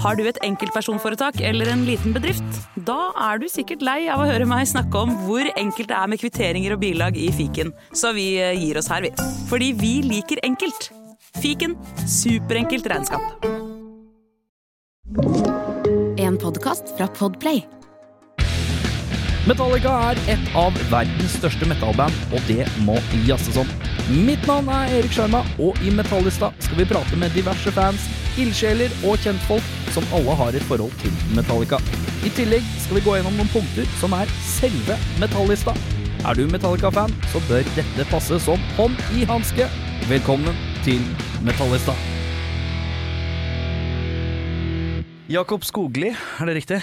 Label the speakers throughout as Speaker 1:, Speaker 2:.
Speaker 1: Har du et enkeltpersonforetak eller en liten bedrift? Da er du sikkert lei av å høre meg snakke om hvor enkelt det er med kvitteringer og bilag i fiken, så vi eh, gir oss her, vi. Fordi vi liker enkelt. Fiken superenkelt regnskap.
Speaker 2: En podkast fra Podplay.
Speaker 3: Metallica er et av verdens største metallband, og det må jazzes om. Mitt navn er Erik Sjarma, og i Metallista skal vi prate med diverse fans, ildsjeler og kjentfolk som alle har et forhold til Metallica. I tillegg skal vi gå gjennom noen punkter som er selve Metallista. Er du Metallica-fan, så bør dette passe som hånd i hanske. Velkommen til Metallista. Jakob Skogli, er det riktig?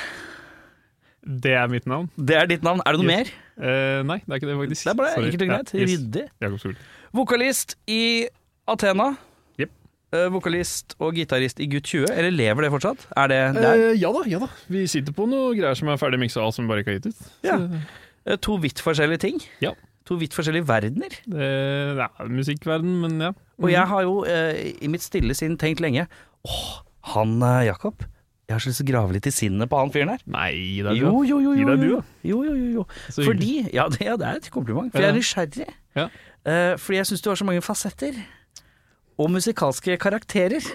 Speaker 4: Det er mitt navn.
Speaker 3: Det er ditt navn. Er det noe
Speaker 4: Yes.
Speaker 3: mer?
Speaker 4: Eh, nei, det er ikke det, faktisk.
Speaker 3: Det er bare
Speaker 4: Sorry.
Speaker 3: enkelt og
Speaker 4: Ja,
Speaker 3: greit.
Speaker 4: yes.
Speaker 3: Ryddig.
Speaker 4: Jakob Sol.
Speaker 3: Vokalist i Athena.
Speaker 4: Jep.
Speaker 3: Eh, vokalist og gitarist i Gutt 20. Eller lever det fortsatt? Er det der?
Speaker 4: ja da, ja da. Vi sitter på noe greier som er ferdig miksa, som vi bare ikke har gitt ut.
Speaker 3: Ja. Eh, to vidt forskjellige ting.
Speaker 4: Ja.
Speaker 3: To vidt forskjellige verdener.
Speaker 4: Det, det er musikkverden, men ja.
Speaker 3: Og jeg har jo eh, i mitt stille sinn tenkt lenge Åh, han eh, Jakob. Jeg har så lyst til å grave litt i sinnet på han fyren her.
Speaker 4: Nei, det er
Speaker 3: Jo, jo, jo.
Speaker 4: Gi
Speaker 3: jo,
Speaker 4: deg du,
Speaker 3: jo.
Speaker 4: da.
Speaker 3: jo, jo, jo, jo.
Speaker 4: Så hyggelig.
Speaker 3: Fordi Ja, det, ja, det er et kompliment. For
Speaker 4: Ja.
Speaker 3: jeg er nysgjerrig.
Speaker 4: Ja.
Speaker 3: Eh, fordi jeg syns du har så mange fasetter. Og musikalske karakterer.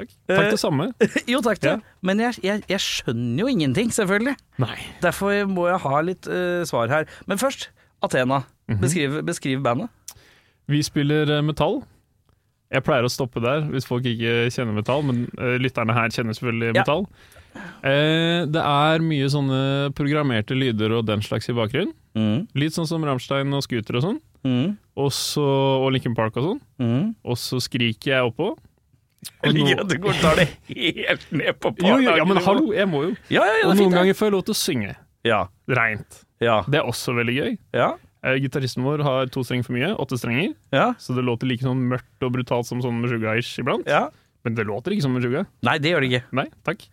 Speaker 4: Takk. Takk det samme.
Speaker 3: jo, takk, du.
Speaker 4: Ja.
Speaker 3: Men jeg, jeg, jeg skjønner jo ingenting, selvfølgelig.
Speaker 4: Nei.
Speaker 3: Derfor må jeg ha litt eh, svar her. Men først, Athena.
Speaker 4: Mhm.
Speaker 3: Beskriv, beskriv bandet.
Speaker 4: Vi spiller eh, metall. Jeg pleier å stoppe der hvis folk ikke kjenner metall, men eh, lytterne her kjenner selvfølgelig
Speaker 3: Ja.
Speaker 4: metall. Eh, det er mye sånne programmerte lyder og den slags i bakgrunnen.
Speaker 3: Mm.
Speaker 4: Litt sånn som Rammstein og Scooter og sånn. Og så, og Linkin Park og sånn. Og så skriker jeg oppå.
Speaker 3: Mm. Jeg
Speaker 4: Og
Speaker 3: liker
Speaker 4: no-
Speaker 3: at du går og tar det helt ned på
Speaker 4: jo, jo, ja, men
Speaker 3: barnehagenivå.
Speaker 4: hallo, jeg må jo.
Speaker 3: Ja, ja, ja, det
Speaker 4: Og
Speaker 3: er fint.
Speaker 4: noen
Speaker 3: det.
Speaker 4: ganger får jeg lov til å synge.
Speaker 3: Ja,
Speaker 4: Reint.
Speaker 3: ja,
Speaker 4: Det er også veldig gøy.
Speaker 3: ja,
Speaker 4: Eh, gitaristen vår har to strenger for mye, åtte strenger,
Speaker 3: ja,
Speaker 4: så det låter like sånn mørkt og brutalt som sånn Meshuggah-ish iblant.
Speaker 3: ja.
Speaker 4: Men det låter ikke som Meshuggah.
Speaker 3: Nei, det gjør det ikke.
Speaker 4: Nei, takk.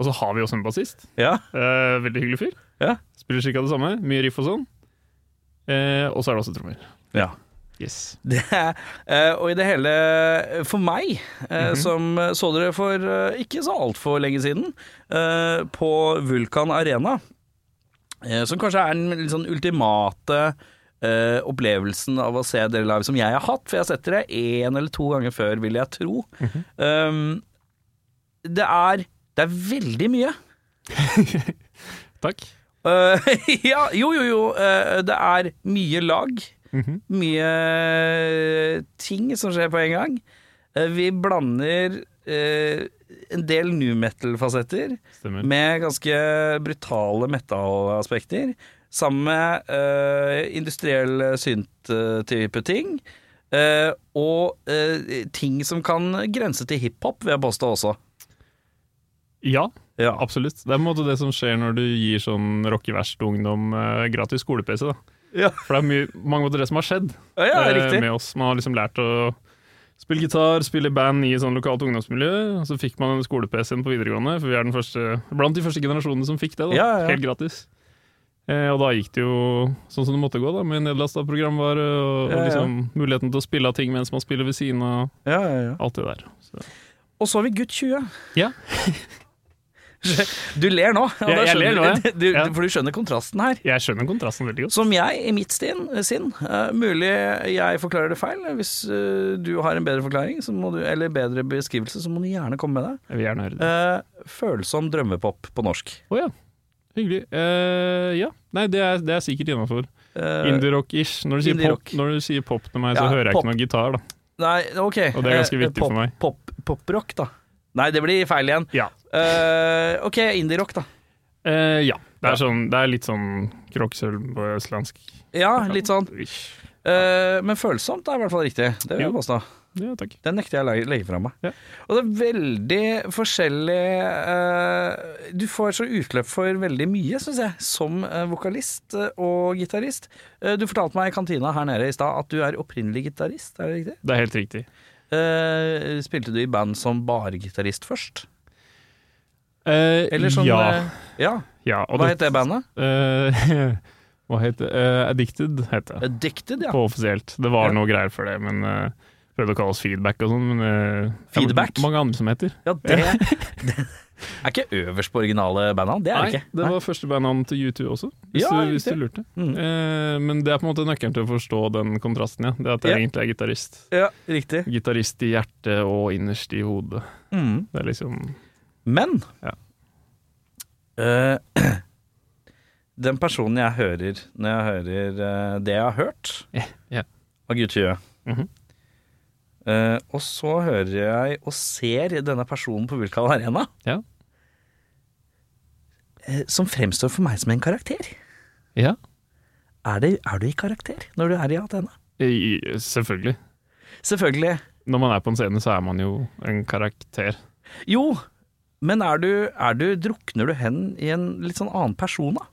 Speaker 4: Og så har vi også en bassist.
Speaker 3: Ja,
Speaker 4: Eh, veldig hyggelig fyr.
Speaker 3: ja.
Speaker 4: Spiller cirka det samme. Mye riff og sånn. Eh, og så er det også trommer.
Speaker 3: ja.
Speaker 4: Yes.
Speaker 3: Det er, eh, og i det hele, for meg, eh,
Speaker 4: Mhm.
Speaker 3: som så dere for eh, ikke så altfor lenge siden, eh, på Vulkan Arena, eh, som kanskje er den litt sånn ultimate eh, opplevelsen av å se dere live som jeg har hatt, for jeg har sett dere én eller to ganger før, vil jeg tro.
Speaker 4: Mhm.
Speaker 3: um, det, er, det er veldig mye.
Speaker 4: Takk.
Speaker 3: Eh, ja, jo, jo, jo. eh, det er mye lag.
Speaker 4: Mhm.
Speaker 3: Mye ting som skjer på en gang. Eh, vi blander eh, en del new metal-fasetter
Speaker 4: Stemmer.
Speaker 3: med ganske brutale metal-aspekter. Sammen med eh, industriell synt-type ting. eh, og eh, ting som kan grense til hiphop, vil jeg påstå også.
Speaker 4: Ja,
Speaker 3: Ja,
Speaker 4: absolutt. Det er på en måte det som skjer når du gir sånn rockeverst ungdom eh, gratis skole-PC. da.
Speaker 3: Ja.
Speaker 4: For det er mye, mange måter det som har skjedd
Speaker 3: ja
Speaker 4: eh,
Speaker 3: riktig.
Speaker 4: med oss. Man har liksom lært å spille gitar, spille i band i sånn lokalt ungdomsmiljø. og Så fikk man en skole-PC-en på videregående, for vi er den første, blant de første generasjonene som fikk det. da,
Speaker 3: Ja, ja, ja.
Speaker 4: Helt gratis. Eh, og da gikk det jo sånn som det måtte gå, da, med nedlasta programvare og,
Speaker 3: Ja, ja.
Speaker 4: og liksom muligheten til å spille av ting mens man spiller ved siden av
Speaker 3: Ja, ja, ja.
Speaker 4: alt det der. Så.
Speaker 3: Og så har vi gutt 20.
Speaker 4: Ja.
Speaker 3: du ler nå. og
Speaker 4: Ja,
Speaker 3: da
Speaker 4: jeg ler
Speaker 3: skjønner-
Speaker 4: nå, jeg.
Speaker 3: Du,
Speaker 4: Ja.
Speaker 3: For du skjønner kontrasten her.
Speaker 4: Jeg skjønner kontrasten veldig godt.
Speaker 3: Som jeg, i mitt sinn, sinn eh, mulig jeg forklarer det feil. Hvis eh, du har en bedre forklaring, så må du, eller bedre beskrivelse, så må du gjerne komme med det.
Speaker 4: Jeg vil gjerne høre det.
Speaker 3: Eh, følsom drømmepop på norsk.
Speaker 4: Å ja. Hyggelig. Eh, ja. Nei, det er, det er sikkert innafor.
Speaker 3: Eh,
Speaker 4: Indie-rock-ish. Når, du sier
Speaker 3: indie-rock.
Speaker 4: pop- når du sier pop til meg, så
Speaker 3: Ja,
Speaker 4: hører jeg
Speaker 3: pop.
Speaker 4: ikke noe gitar, da.
Speaker 3: nei, ok.
Speaker 4: Og det er ganske
Speaker 3: Eh,
Speaker 4: viktig
Speaker 3: pop,
Speaker 4: for meg.
Speaker 3: Pop, poprock, da. Nei, det blir feil igjen.
Speaker 4: Ja.
Speaker 3: Eh, ok, indie-rock, da.
Speaker 4: Eh, ja. Det,
Speaker 3: Ja.
Speaker 4: er sånn, det er litt sånn kråkesølv på østlandsk.
Speaker 3: Ja, litt sånn.
Speaker 4: Ish.
Speaker 3: Eh, men følsomt er i hvert fall riktig. Det vil jeg
Speaker 4: Jo.
Speaker 3: påstå.
Speaker 4: Ja, takk.
Speaker 3: Den nekter jeg å legge- legge fra meg.
Speaker 4: Ja.
Speaker 3: Og det er veldig forskjellig eh, Du får så utløp for veldig mye, syns jeg, som eh, vokalist eh, og gitarist. Eh, du fortalte meg i kantina her nede i stad at du er opprinnelig gitarist, er det riktig?
Speaker 4: Det er helt riktig.
Speaker 3: Eh, spilte du i band som bare gitarist først?
Speaker 4: Eh,
Speaker 3: Eller sånn
Speaker 4: ja.
Speaker 3: eh, ja.
Speaker 4: ja. og
Speaker 3: Hva
Speaker 4: det-
Speaker 3: het det bandet?
Speaker 4: Eh, hva het det? Eh, Addicted het det.
Speaker 3: Addicted, ja.
Speaker 4: På offisielt. Det var
Speaker 3: Ja.
Speaker 4: noe greier for det, men eh, Prøvde å kalle oss feedback og sånn, men eh, det er
Speaker 3: Feedback?
Speaker 4: mange andre som heter.
Speaker 3: Ja, det, det er ikke øverst på originale bandet. Det er det
Speaker 4: Nei,
Speaker 3: ikke.
Speaker 4: det var første bandnavnet til U2 også, hvis,
Speaker 3: Ja,
Speaker 4: du, hvis
Speaker 3: riktig.
Speaker 4: du lurte.
Speaker 3: Mhm.
Speaker 4: Eh, men det er på en måte nøkkelen til å forstå den kontrasten, ja. Det at jeg
Speaker 3: Ja.
Speaker 4: egentlig er gitarist.
Speaker 3: Ja, riktig.
Speaker 4: Gitarist i hjertet og innerst i hodet.
Speaker 3: Mm.
Speaker 4: Det er liksom
Speaker 3: Men
Speaker 4: Ja.
Speaker 3: eh, Den personen jeg hører når jeg hører eh, det jeg har hørt
Speaker 4: Ja, eh, ja.
Speaker 3: av Guttjue
Speaker 4: Mhm.
Speaker 3: eh, Og så hører jeg og ser denne personen på Vulkan Arena,
Speaker 4: Ja.
Speaker 3: eh, som fremstår for meg som en karakter.
Speaker 4: ja.
Speaker 3: Er, det, er du i karakter når du er i Atena?
Speaker 4: I, i- selvfølgelig.
Speaker 3: Selvfølgelig.
Speaker 4: Når man er på en scene, så er man jo en karakter.
Speaker 3: Jo, men er du, er du drukner du hen i en litt sånn annen person, da?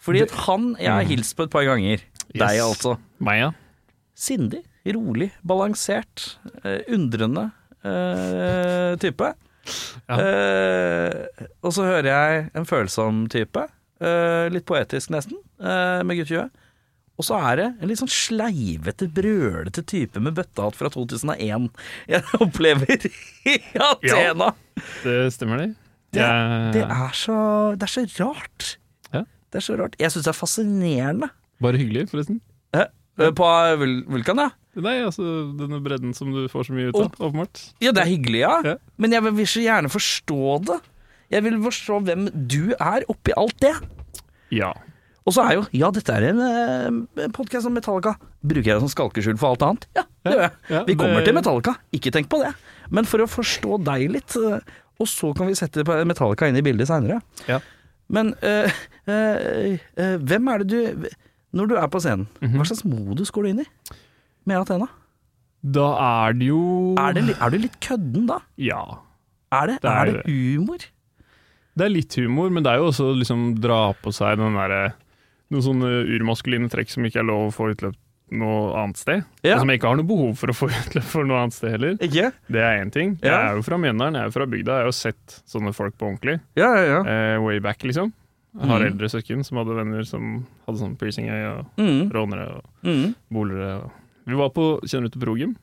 Speaker 3: Fordi at han jeg har hilst på et par ganger.
Speaker 4: Mm.
Speaker 3: Deg,
Speaker 4: Yes.
Speaker 3: altså.
Speaker 4: Meg, ja.
Speaker 3: sindig, rolig, balansert, eh, undrende eh, type.
Speaker 4: Ja.
Speaker 3: Eh, og så hører jeg en følsom type, eh, litt poetisk nesten, eh, med guttejue. Og så er det en litt sånn sleivete, brølete type med bøttehatt fra 2001 jeg opplever i Athena.
Speaker 4: Det stemmer, det.
Speaker 3: Det-
Speaker 4: Jeg-
Speaker 3: Det, er så, det er så rart.
Speaker 4: Ja.
Speaker 3: Det er så rart. Jeg syns det er fascinerende.
Speaker 4: Bare hyggelig, forresten.
Speaker 3: Eh, eh, På Vul- Vulkan, ja.
Speaker 4: Nei, altså denne bredden som du får så mye ut av, åpenbart.
Speaker 3: Ja, det er hyggelig, ja.
Speaker 4: Ja.
Speaker 3: Men jeg vil så gjerne forstå det. Jeg vil forstå hvem du er oppi alt det.
Speaker 4: Ja.
Speaker 3: Og så er jo Ja, dette er en eh, podkast om Metallica. Bruker jeg det som skalkeskjul for alt annet? Ja, det gjør jeg.
Speaker 4: ja,
Speaker 3: vi kommer
Speaker 4: det-
Speaker 3: til Metallica, ikke tenk på det. Men for å forstå deg litt, eh, og så kan vi sette Metallica inn i bildet seinere.
Speaker 4: Ja.
Speaker 3: Men eh, eh, eh, hvem er det du Når du er på scenen,
Speaker 4: Mhm.
Speaker 3: hva slags modus går du inn i med Athena?
Speaker 4: Da er det jo
Speaker 3: Er, det, li- er du litt kødden da?
Speaker 4: Ja.
Speaker 3: Er det,
Speaker 4: Det er
Speaker 3: er det
Speaker 4: det.
Speaker 3: humor?
Speaker 4: Det er litt humor, men det er jo også liksom dra på seg den derre Noen sånne urmaskuline trekk som ikke er lov å få utløp noe annet sted. Og
Speaker 3: Ja.
Speaker 4: som jeg ikke har noe behov for å få utløp for noe annet sted heller.
Speaker 3: Ikke?
Speaker 4: Det er én ting. Jeg
Speaker 3: Ja.
Speaker 4: er jo fra Mjøndalen, jeg er jo fra bygda. Jeg har jo sett sånne folk på ordentlig.
Speaker 3: Ja, ja, ja.
Speaker 4: Eh, way back, liksom. Jeg har
Speaker 3: Mhm.
Speaker 4: eldre søsken som hadde venner som hadde sånn piercing i øyet, og
Speaker 3: Mm,
Speaker 4: rånere og
Speaker 3: mm.
Speaker 4: bolere. Og vi var på Kjenner du til Progym?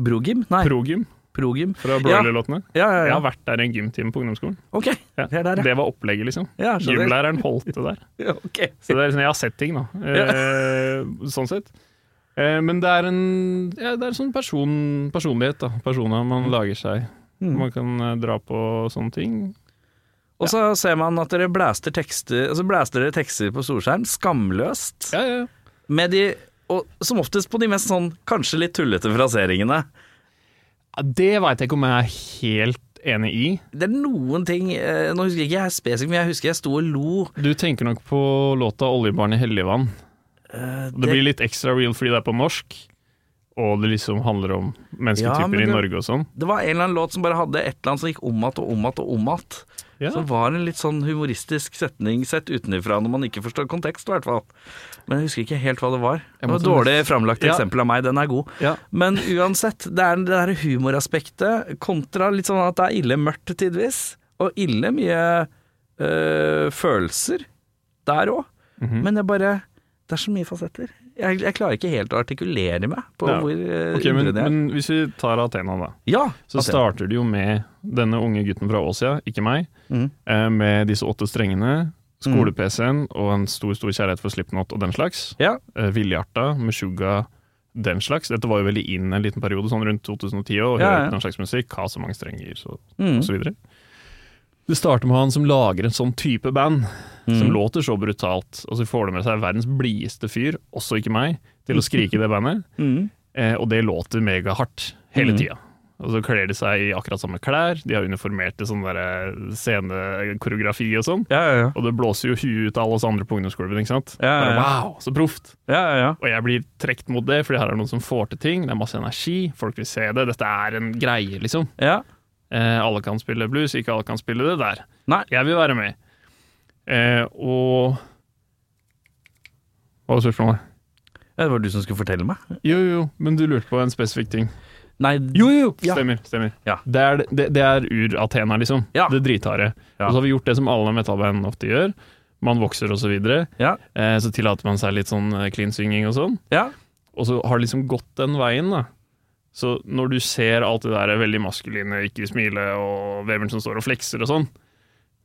Speaker 3: Brogym? Nei,
Speaker 4: Progym
Speaker 3: progym.
Speaker 4: fra Broiler-låtene.
Speaker 3: Ja, ja,
Speaker 4: Jeg
Speaker 3: ja.
Speaker 4: har vært der i en gymtime på ungdomsskolen.
Speaker 3: Ok,
Speaker 4: Ja.
Speaker 3: det er der, ja.
Speaker 4: Det var opplegget, liksom.
Speaker 3: Ja, skjønner.
Speaker 4: Gymlæreren holdt det der.
Speaker 3: Ja, ok.
Speaker 4: Så det er liksom, jeg har sett ting, da. Eh, sånn sett. Eh, men det er en ja, det er sånn person, personlighet, da. Personer
Speaker 3: Mhm.
Speaker 4: man lager seg. Man kan eh, dra på sånne ting.
Speaker 3: Og så ser man at dere blæster tekster, altså blæster dere tekster på storskjerm, skamløst,
Speaker 4: Ja, ja.
Speaker 3: med de, og som oftest på de mest sånn, kanskje litt tullete
Speaker 4: Ja,
Speaker 3: fraseringene.
Speaker 4: Det veit jeg ikke om jeg er helt enig i.
Speaker 3: Det er noen ting, eh, nå husker jeg ikke jeg spesifikt, men jeg husker jeg sto og lo.
Speaker 4: Du tenker nok på låta 'Oljebarn i Helligvann'.
Speaker 3: Eh,
Speaker 4: Det blir litt ekstra real fordi det er på norsk, og det liksom handler om
Speaker 3: Ja,
Speaker 4: mennesketyper
Speaker 3: men
Speaker 4: i
Speaker 3: det-
Speaker 4: Norge og sånn.
Speaker 3: det var en eller annen låt som bare hadde et eller annet som gikk om at og om at og om at.
Speaker 4: Ja.
Speaker 3: Så var det en litt sånn humoristisk setning sett utenfra når man ikke forstår kontekst, i hvert fall. Men jeg husker ikke helt hva det var. Det
Speaker 4: Jeg
Speaker 3: var
Speaker 4: måtte
Speaker 3: et dårlig framlagt
Speaker 4: Ja.
Speaker 3: eksempel av meg, den er god.
Speaker 4: Ja.
Speaker 3: Men uansett, det er det der humoraspektet kontra litt sånn at det er ille mørkt tidvis, og ille mye øh, følelser der òg.
Speaker 4: Mhm.
Speaker 3: Men jeg bare Det er så mye fasetter. Jeg, jeg klarer ikke helt å artikulere meg på
Speaker 4: Ja.
Speaker 3: hvor øh,
Speaker 4: Ok, men,
Speaker 3: undrende jeg er.
Speaker 4: men hvis vi tar Athena, da.
Speaker 3: Ja!
Speaker 4: Så
Speaker 3: at jeg-
Speaker 4: starter det jo med denne unge gutten fra Åsia, ikke meg,
Speaker 3: Mhm.
Speaker 4: eh, med disse åtte
Speaker 3: Mm.
Speaker 4: strengene, skole-PC-en og en stor stor kjærlighet for Slipknot og den slags.
Speaker 3: Ja.
Speaker 4: Eh, Villhjarta, Meshuggah, den slags. Dette var jo veldig inn en liten periode, sånn rundt 2010, og
Speaker 3: Ja,
Speaker 4: høre
Speaker 3: ja.
Speaker 4: på den slags musikk, ha så mange strenger, så
Speaker 3: Mm.
Speaker 4: og så videre. Det starter med han som lager en sånn type band,
Speaker 3: Mm.
Speaker 4: som låter så brutalt, og så får det med seg verdens blideste fyr, også ikke meg, til å skrike i det bandet.
Speaker 3: Mm.
Speaker 4: Eh, og det låter megahardt hele
Speaker 3: Mm.
Speaker 4: tida. Og så kler de seg i akkurat samme klær, de har uniformerte sånn derre scenekoreografi og sånn.
Speaker 3: Ja, ja, ja.
Speaker 4: Og det blåser jo huet ut av alle oss andre på ungdomsgulvet, ikke sant.
Speaker 3: Ja, ja, ja.
Speaker 4: Bare, wow, så proft.
Speaker 3: ja, ja, ja.
Speaker 4: Og jeg blir trukket mot det, fordi her er det noen som får til ting, det er masse energi, folk vil se det, dette er en greie, liksom.
Speaker 3: Ja.
Speaker 4: Eh, alle kan spille blues, ikke alle kan spille det der.
Speaker 3: Nei.
Speaker 4: Jeg vil være med. Eh, og Hva var spørsmålet?
Speaker 3: Ja, Det var du som skulle fortelle meg.
Speaker 4: Jo, jo, men du lurte på en spesifikk ting.
Speaker 3: Nei,
Speaker 4: jo!
Speaker 3: Ja.
Speaker 4: Stemmer. stemmer.
Speaker 3: Ja.
Speaker 4: Det er, det, det er ur-Athena, liksom.
Speaker 3: Ja.
Speaker 4: Det dritharde.
Speaker 3: Ja.
Speaker 4: Og så har vi gjort det som alle metallband ofte gjør. Man vokser osv. Så, videre.
Speaker 3: Ja.
Speaker 4: eh, så tillater man seg litt sånn eh, clean singing og sånn.
Speaker 3: Ja.
Speaker 4: Og så har det liksom gått den veien, da. Så når du ser alt det der veldig maskuline, ikke smile, og Vebjørn som står og flekser og sånn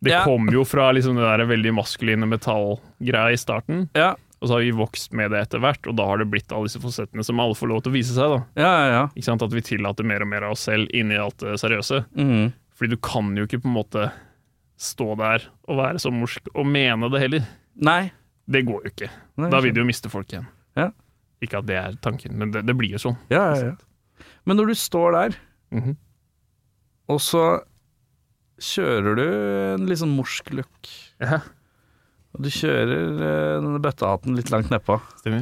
Speaker 4: Det
Speaker 3: Ja.
Speaker 4: kom jo fra liksom det der veldig maskuline metallgreia i starten,
Speaker 3: Ja,
Speaker 4: og så har vi vokst med det etter hvert, og da har det blitt alle disse fasettene som alle får lov til å vise seg, da.
Speaker 3: ja, ja. ja.
Speaker 4: Ikke sant? At vi tillater mer og mer av oss selv inni alt det seriøse.
Speaker 3: Mhm.
Speaker 4: Fordi du kan jo ikke på en måte stå der og være så morsk og mene det heller.
Speaker 3: Nei.
Speaker 4: Det går jo ikke.
Speaker 3: Nei,
Speaker 4: Da vil du jo miste folk igjen.
Speaker 3: Ja.
Speaker 4: Ikke at det er tanken, men det, det blir jo sånn.
Speaker 3: Ja, ja, ja. Men når du står der,
Speaker 4: Mhm.
Speaker 3: og så kjører du en litt sånn morsk look
Speaker 4: Ja.
Speaker 3: Og du kjører eh, denne bøttehatten litt langt nedpå.
Speaker 4: Stemmer.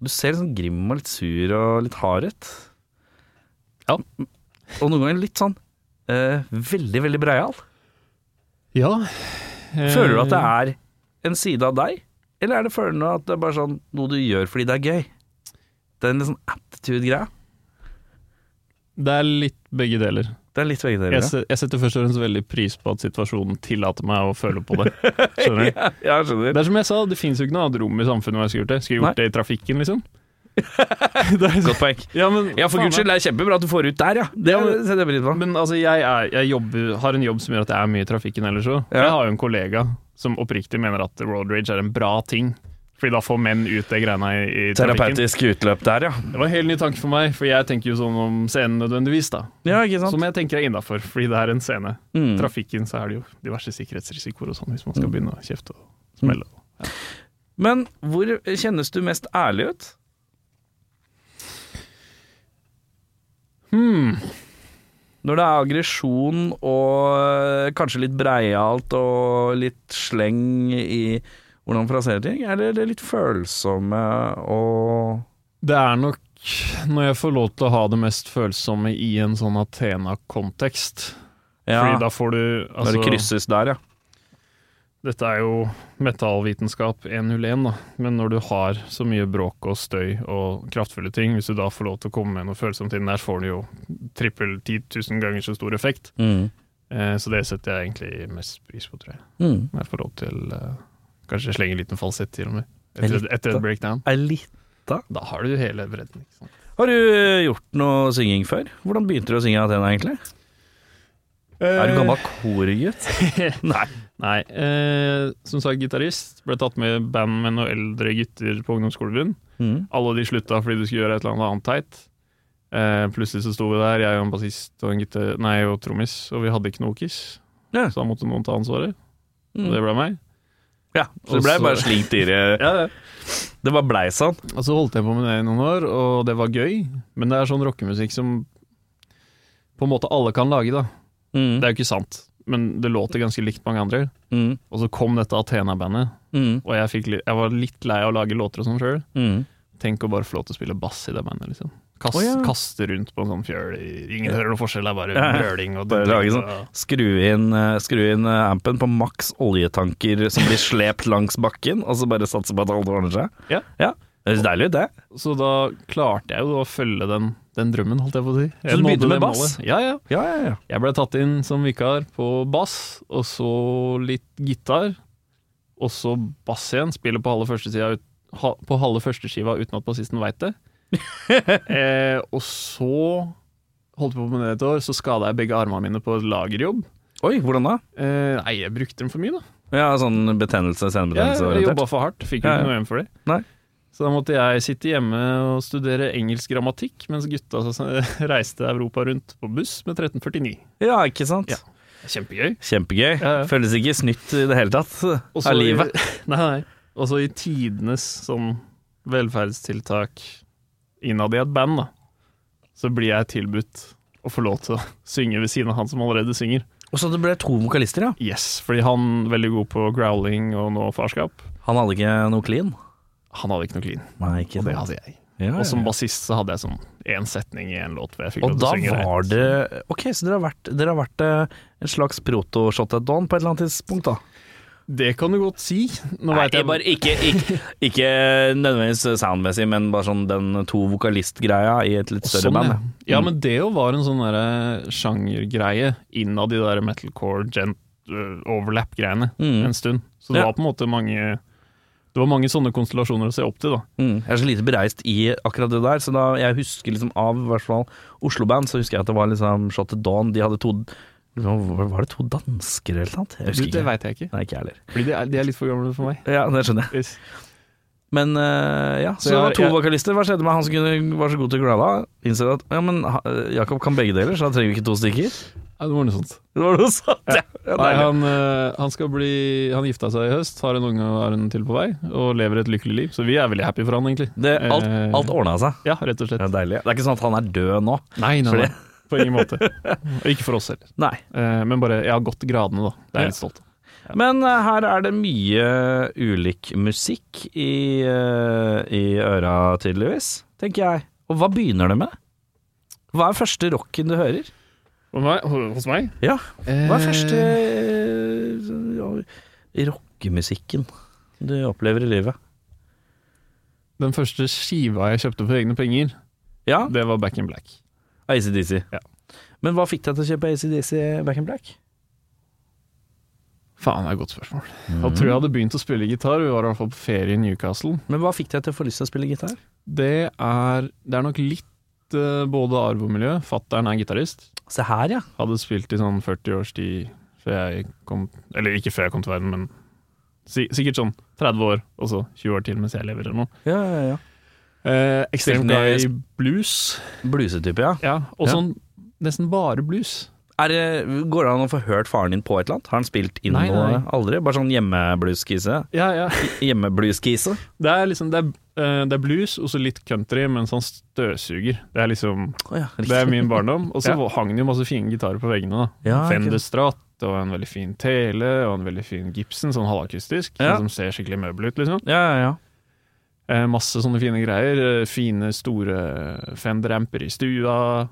Speaker 3: Du ser litt sånn grim og litt sur og litt hard ut.
Speaker 4: Ja.
Speaker 3: Og noen ganger litt sånn eh, veldig, veldig breial.
Speaker 4: Ja.
Speaker 3: Føler du at det er
Speaker 4: Eh.
Speaker 3: en side av deg, eller er det følende at det er bare sånn noe du gjør fordi det er gøy? Det er en litt sånn attitude-greie.
Speaker 4: Det er litt begge deler.
Speaker 3: Det er litt begge deler.
Speaker 4: Jeg, se- jeg setter først og fremst veldig pris på at situasjonen tillater meg å føle på det. Skjønner du?
Speaker 3: Ja, jeg skjønner.
Speaker 4: Det er som jeg sa, det fins jo ikke noe annet rom i samfunnet hvor jeg skulle gjort det. Skulle jeg gjort det i trafikken, liksom? Det er-
Speaker 3: Godt poeng.
Speaker 4: ja, men,
Speaker 3: Ja, for
Speaker 4: faen,
Speaker 3: guds skyld, det er kjempebra at du får ut der, ja. Det
Speaker 4: Ja, men-
Speaker 3: setter jeg pris på.
Speaker 4: Men altså, jeg, er, jeg jobber, har en jobb som gjør at jeg er mye i trafikken ellers òg.
Speaker 3: Ja.
Speaker 4: Jeg har jo en kollega som oppriktig mener at road rage er en bra ting. Fordi da får menn ut det greiene i, i trafikken.
Speaker 3: utløp der, ja.
Speaker 4: Det var en helt ny tanke for meg, for jeg tenker jo sånn om scenen nødvendigvis, da.
Speaker 3: Ja, ikke sant?
Speaker 4: Som jeg tenker er innafor, fordi det er en scene.
Speaker 3: Mm.
Speaker 4: Trafikken så er det jo diverse sikkerhetsrisikoer og sånn, hvis man skal begynne å kjefte og smelle.
Speaker 3: Mm. Men hvor kjennes du mest ærlig ut?
Speaker 4: Hmm.
Speaker 3: Når det er aggresjon og øh, kanskje litt breialt og litt sleng i hvordan man fraserer ting? Eller er det litt følsomme og
Speaker 4: Det er nok når jeg får lov til å ha det mest følsomme i en sånn Athena-kontekst. Fordi da får du altså-
Speaker 3: Når det krysses der, ja.
Speaker 4: Dette er jo metallvitenskap 101, da. Men når du har så mye bråk og støy og kraftfulle ting, hvis du da får lov til å komme med noe følsomt inn der, så får du jo trippel 10 000 ganger så stor effekt. Eh, så det setter jeg egentlig mest pris på, tror jeg.
Speaker 3: Mm.
Speaker 4: Når jeg får lov til eh, kanskje slenge en liten falsett til og med. Etter,
Speaker 3: Litt,
Speaker 4: etter
Speaker 3: da.
Speaker 4: et breakdown.
Speaker 3: Er litt.
Speaker 4: Da har du hele bredden. Ikke sant?
Speaker 3: Har du gjort noe synging før? Hvordan begynte du å synge Athena, egentlig? Er du gammel korgutt? Nei.
Speaker 4: Nei. Eh, som sagt, gitarist. Ble tatt med i band med noen eldre gutter på ungdomsskolen.
Speaker 3: Mm.
Speaker 4: Alle de slutta fordi du skulle gjøre et eller annet annet teit. Eh, plutselig så sto vi der, jeg og en bassist og en gitar... Nei, og trommis, og vi hadde ikke noe kiss.
Speaker 3: Ja.
Speaker 4: Så da måtte noen ta ansvaret, og
Speaker 3: Mm.
Speaker 4: det ble meg.
Speaker 3: Ja, så det ble
Speaker 4: Også-
Speaker 3: bare slinkt i det. Det bare blei sånn.
Speaker 4: Og så holdt jeg på med det i noen år, og det var gøy. Men det er sånn rockemusikk som på en måte alle kan lage, da.
Speaker 3: Mm.
Speaker 4: Det er jo ikke sant, men det låter ganske likt mange andre.
Speaker 3: Mm.
Speaker 4: Og så kom dette Athena-bandet,
Speaker 3: Mm.
Speaker 4: og jeg, fikk, li- jeg var litt lei av å lage låter og sånn sjøl.
Speaker 3: Mm.
Speaker 4: Tenk å bare få lov til å spille bass i det bandet, liksom. Kast,
Speaker 3: Å, ja.
Speaker 4: Kaste rundt på en sånn fjøl. Ingen hører noe forskjell, det er bare
Speaker 3: Ja, ja.
Speaker 4: brøling og
Speaker 3: Bare lage sånn.
Speaker 4: og-
Speaker 3: Skru inn, eh, skru inn eh, ampen på maks oljetanker som blir slept langs bakken, og så bare satse på at alt ordner seg.
Speaker 4: Ja.
Speaker 3: Det høres deilig ut, det.
Speaker 4: Så da klarte jeg jo å følge den, den drømmen, holdt jeg på å si.
Speaker 3: Så du
Speaker 4: Jeg nådde
Speaker 3: begynte med
Speaker 4: det
Speaker 3: bass?
Speaker 4: målet. Ja, ja.
Speaker 3: Ja, ja, ja.
Speaker 4: Jeg ble tatt inn som vikar på bass, og så litt gitar, og så bass igjen. Spiller på halve første sida ut, ha, på halve første skiva uten at bassisten veit det. eh, og så holdt jeg på med det et år, så skada jeg begge armene mine på lagerjobb.
Speaker 3: Oi, hvordan da?
Speaker 4: Eh, nei, jeg brukte dem for mye, da.
Speaker 3: Ja, sånn
Speaker 4: Ja,
Speaker 3: betennelse,
Speaker 4: jeg jobba
Speaker 3: senebetennelse-orientert.
Speaker 4: for hardt, fikk jo
Speaker 3: Ja, ja.
Speaker 4: ikke noe hjem for det.
Speaker 3: Nei.
Speaker 4: Så da måtte jeg sitte hjemme og studere engelsk grammatikk, mens gutta så- reiste Europa rundt på buss med 1349.
Speaker 3: Ja, ikke sant?
Speaker 4: Ja. Kjempegøy.
Speaker 3: Kjempegøy.
Speaker 4: Ja, ja.
Speaker 3: Føles ikke snytt i det hele tatt
Speaker 4: Også
Speaker 3: av livet.
Speaker 4: I, nei, nei. Også i tidenes sånn velferdstiltak innad i et band, da, så blir jeg tilbudt å få lov til å synge ved siden av han som allerede synger.
Speaker 3: Og så det ble to vokalister, ja.
Speaker 4: Yes, fordi han veldig god på growling og nå farskap.
Speaker 3: Han hadde ikke noe clean.
Speaker 4: Han hadde ikke noe clean,
Speaker 3: Nei, ikke
Speaker 4: og det
Speaker 3: sant.
Speaker 4: hadde jeg.
Speaker 3: Ja, ja,
Speaker 4: Og som
Speaker 3: ja.
Speaker 4: bassist så hadde jeg sånn én setning i én låt. Hvor jeg fikk
Speaker 3: Og
Speaker 4: lov til
Speaker 3: da
Speaker 4: å synge
Speaker 3: var
Speaker 4: rett.
Speaker 3: det Ok, så dere har vært, dere har vært eh, en slags proto-shot at dawn på et eller annet tidspunkt, da?
Speaker 4: Det kan du godt si. Nå
Speaker 3: Nei,
Speaker 4: vet jeg
Speaker 3: bare ikke, ikke, ikke nødvendigvis soundmessig, men bare sånn den to vokalist-greia i et litt større
Speaker 4: Sånn,
Speaker 3: band.
Speaker 4: ja.
Speaker 3: ja.
Speaker 4: ja, men det jo var en sånn derre sjangergreie innad i de der metalcore gent øh, overlap-greiene
Speaker 3: Mm.
Speaker 4: en stund. Så det
Speaker 3: Ja.
Speaker 4: var på en måte mange Det var mange sånne konstellasjoner å se opp til, da.
Speaker 3: Mm. Jeg er så lite bereist i akkurat det der, så da jeg husker liksom av i hvert fall Oslo-band, så husker jeg at det var liksom Shot to Dawn. De hadde to liksom, Var det to dansker eller noe? Jeg husker
Speaker 4: Det
Speaker 3: ikke.
Speaker 4: veit jeg ikke.
Speaker 3: Nei, ikke jeg heller.
Speaker 4: Fordi de er, de er litt for gamle for meg.
Speaker 3: Ja, det skjønner jeg. Men eh, ja, så,
Speaker 4: Så jeg
Speaker 3: det
Speaker 4: har-
Speaker 3: var to
Speaker 4: jeg-
Speaker 3: vokalister. Hva skjedde med han som kunne, var så god til glada? Innser at ja, men ha- Jakob kan begge deler, så da trenger vi ikke to stykker.
Speaker 4: Ja, det var noe sånt.
Speaker 3: Det var noe sånt, ja. ja
Speaker 4: Nei,
Speaker 3: deilig.
Speaker 4: han, eh, han skal bli Han gifta seg i høst, har en unge og har en til på vei, og lever et lykkelig liv. Så vi er veldig happy for han, egentlig.
Speaker 3: det, alt
Speaker 4: Eh,
Speaker 3: alt ordna seg.
Speaker 4: Ja, rett og slett.
Speaker 3: Ja, deilig. Det er ikke sånn at han er død nå.
Speaker 4: Nei, nei,
Speaker 3: Fordi-
Speaker 4: nei. På ingen måte. Og ikke for oss heller.
Speaker 3: Nei.
Speaker 4: Eh, Men bare Jeg har gått gradene, da. Det er jeg litt stolt av.
Speaker 3: Men eh, her er det mye ulik musikk i, eh, i øra, tydeligvis, tenker jeg. Og hva begynner det med? Hva er første rocken du hører?
Speaker 4: Hos meg? Hos meg?
Speaker 3: Ja, hva er
Speaker 4: Eh,
Speaker 3: første eh, ja, rockemusikken du opplever i livet?
Speaker 4: Den første skiva jeg kjøpte for egne penger,
Speaker 3: Ja,
Speaker 4: det var Back in Black.
Speaker 3: ACDC.
Speaker 4: Ja.
Speaker 3: Men hva fikk deg til å kjøpe ACDC Back in Black?
Speaker 4: Faen, det er et godt spørsmål. Jeg tror jeg hadde begynt å spille gitar, vi var i hvert fall på ferie i Newcastle.
Speaker 3: Men hva fikk deg til å få lyst til å spille gitar?
Speaker 4: Det er, det er nok litt eh, både arv og miljø. Fattern er gitarist.
Speaker 3: Se her, ja.
Speaker 4: Hadde spilt i sånn 40 års tid før jeg kom Eller ikke før jeg kom til verden, men si, sikkert sånn 30 år, og så 20 år til mens jeg lever eller noe.
Speaker 3: Ja, ja, ja.
Speaker 4: Eh,
Speaker 3: Spilte
Speaker 4: Ekstremt
Speaker 3: ned-
Speaker 4: glad i blues.
Speaker 3: Blusetype, ja.
Speaker 4: Ja, og
Speaker 3: Ja.
Speaker 4: sånn nesten bare blues.
Speaker 3: Er det, går det an å få hørt faren din på et eller annet? Har han spilt inn
Speaker 4: Nei,
Speaker 3: noe?
Speaker 4: nei.
Speaker 3: Aldri? Bare sånn hjemmeblueskise?
Speaker 4: Ja, ja.
Speaker 3: Hjemmeblueskise?
Speaker 4: Det er liksom det er, eh, det er blues og så litt country mens han støvsuger. Det er liksom
Speaker 3: Å ja,
Speaker 4: Det er min barndom. Og så
Speaker 3: Ja.
Speaker 4: hang det jo masse fine gitarer på veggene. da
Speaker 3: Ja, ok.
Speaker 4: Fender Strat og en veldig fin Tele og en veldig fin Gibson, sånn halvakustisk,
Speaker 3: Ja.
Speaker 4: sånn som ser skikkelig møbel ut, liksom.
Speaker 3: Ja, ja, ja.
Speaker 4: Eh, masse sånne fine greier. Eh, fine, store Fender-amper i stua,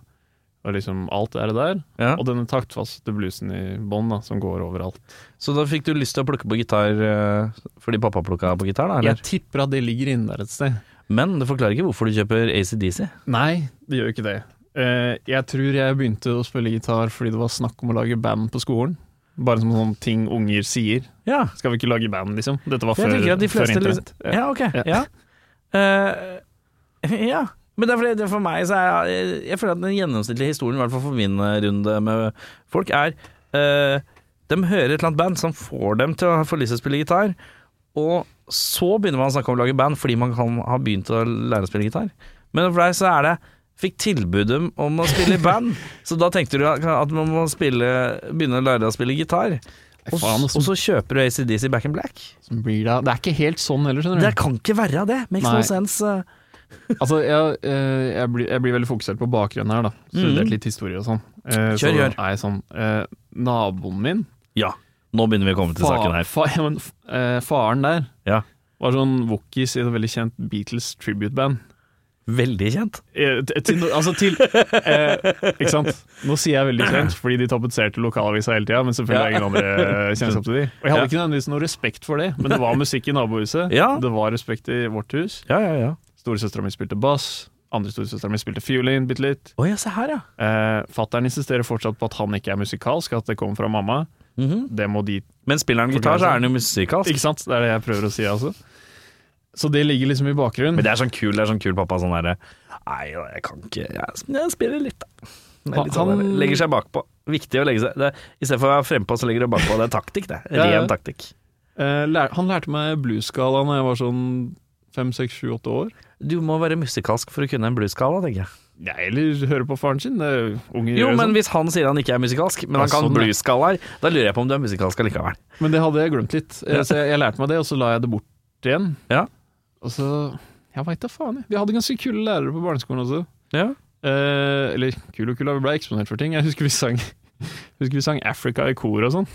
Speaker 4: og liksom alt det der.
Speaker 3: ja.
Speaker 4: Og denne taktfaste bluesen i bånn, da, som går overalt.
Speaker 3: Så da fikk du lyst til å plukke på gitar eh, fordi pappa plukka på gitar, da? Eller?
Speaker 4: Jeg tipper at det ligger inne der et sted.
Speaker 3: Men det forklarer ikke hvorfor du kjøper ACDC.
Speaker 4: Nei, det gjør jo ikke det. Eh, jeg tror jeg begynte å spille gitar fordi det var snakk om å lage band på skolen. Bare som sånn ting unger sier.
Speaker 3: Ja,
Speaker 4: Skal vi ikke lage band, liksom? Dette var
Speaker 3: Jeg
Speaker 4: før,
Speaker 3: tenker at de
Speaker 4: før
Speaker 3: fleste
Speaker 4: internett. Ja.
Speaker 3: Ja, ok. Ja.
Speaker 4: Ja.
Speaker 3: Eh, ja. Men det er fordi det for meg så er jeg, jeg føler at den gjennomsnittlige historien, i hvert fall for min eh, runde med folk, er eh, De hører et eller annet band som får dem til å få lyst til å spille gitar, og så begynner man å snakke om å lage band fordi man kan ha begynt å lære å spille gitar. Men for deg så er det Fikk tilbud om å spille i band, så da tenkte du at man må spille, begynne å lære å spille gitar. Og,
Speaker 4: faen,
Speaker 3: s-
Speaker 4: altså.
Speaker 3: og så kjøper du ACDC Back in Black.
Speaker 4: Som blir da- Det er ikke helt sånn heller, skjønner du.
Speaker 3: Det kan ikke være det. Makes
Speaker 4: Nei.
Speaker 3: no sense. eh.
Speaker 4: Altså, jeg, eh, jeg, blir, jeg blir veldig fokusert på bakgrunnen her, da. Studert litt historie og sånn. Eh, så
Speaker 3: Mm. Kjør, gjør.
Speaker 4: er jeg sånn eh, Naboen min
Speaker 3: Ja, nå begynner vi å komme til saken her.
Speaker 4: fa, ja, men, f- eh, Faren der
Speaker 3: Ja.
Speaker 4: var sånn wokis i et veldig kjent Beatles tribute-band.
Speaker 3: Veldig kjent.
Speaker 4: Eh, t- til, no- altså til eh, Ikke sant? Nå sier jeg veldig kjent, fordi de tapetserte lokalavisa hele tida, men selvfølgelig har jeg ingen andre eh, kjennskap til de. Og jeg hadde ikke nødvendigvis noe respekt for det, men det var musikk i nabohuset.
Speaker 3: Ja.
Speaker 4: Det var respekt i vårt hus.
Speaker 3: Ja, ja, ja.
Speaker 4: Storesøstera mi spilte bass. Andre storesøstera mi spilte fiolin bitte litt.
Speaker 3: Å ja, se her, ja.
Speaker 4: Eh, Fattern insisterer fortsatt på at han ikke er musikalsk, at det kommer fra mamma.
Speaker 3: Mhm.
Speaker 4: Det må de
Speaker 3: Men spiller han gitar, så er han jo altså. musikalsk.
Speaker 4: Ikke sant? Det er det jeg prøver å si, altså. Så det ligger liksom i bakgrunnen.
Speaker 3: Men det er sånn kul, det er sånn kul pappa sånn derre Nei, jeg kan ikke Jeg, jeg spiller litt, da. Det er litt sånn,
Speaker 4: Han-
Speaker 3: der, legger seg bakpå. Viktig å legge seg det, I stedet for å være frempå, så legger du bakpå. Det er taktikk, det.
Speaker 4: Ja,
Speaker 3: Ren
Speaker 4: ja.
Speaker 3: taktikk.
Speaker 4: Eh, lær, han lærte meg bluesskala da jeg var sånn fem, seks, sju, åtte år.
Speaker 3: Du må være musikalsk for å kunne en blueskala, tenker jeg.
Speaker 4: Ja, eller høre på faren sin. Det er jo unger
Speaker 3: Jo,
Speaker 4: gjør jo
Speaker 3: men
Speaker 4: sånn.
Speaker 3: hvis han sier han ikke er musikalsk, men
Speaker 4: Ja,
Speaker 3: han kan
Speaker 4: sånn, ja.
Speaker 3: blueskalaer, da lurer jeg på om du er musikalsk allikevel.
Speaker 4: Men det hadde jeg glemt litt. Eh, Så jeg, jeg lærte meg det, og så la jeg det bort igjen.
Speaker 3: Ja.
Speaker 4: Og så Jeg veit da faen, jeg. Vi hadde ganske kule lærere på barneskolen også.
Speaker 3: Ja.
Speaker 4: Eh, eller kul og kul, vi ble eksponert for ting. Jeg husker vi sang, husker vi sang Africa i kor og sånn.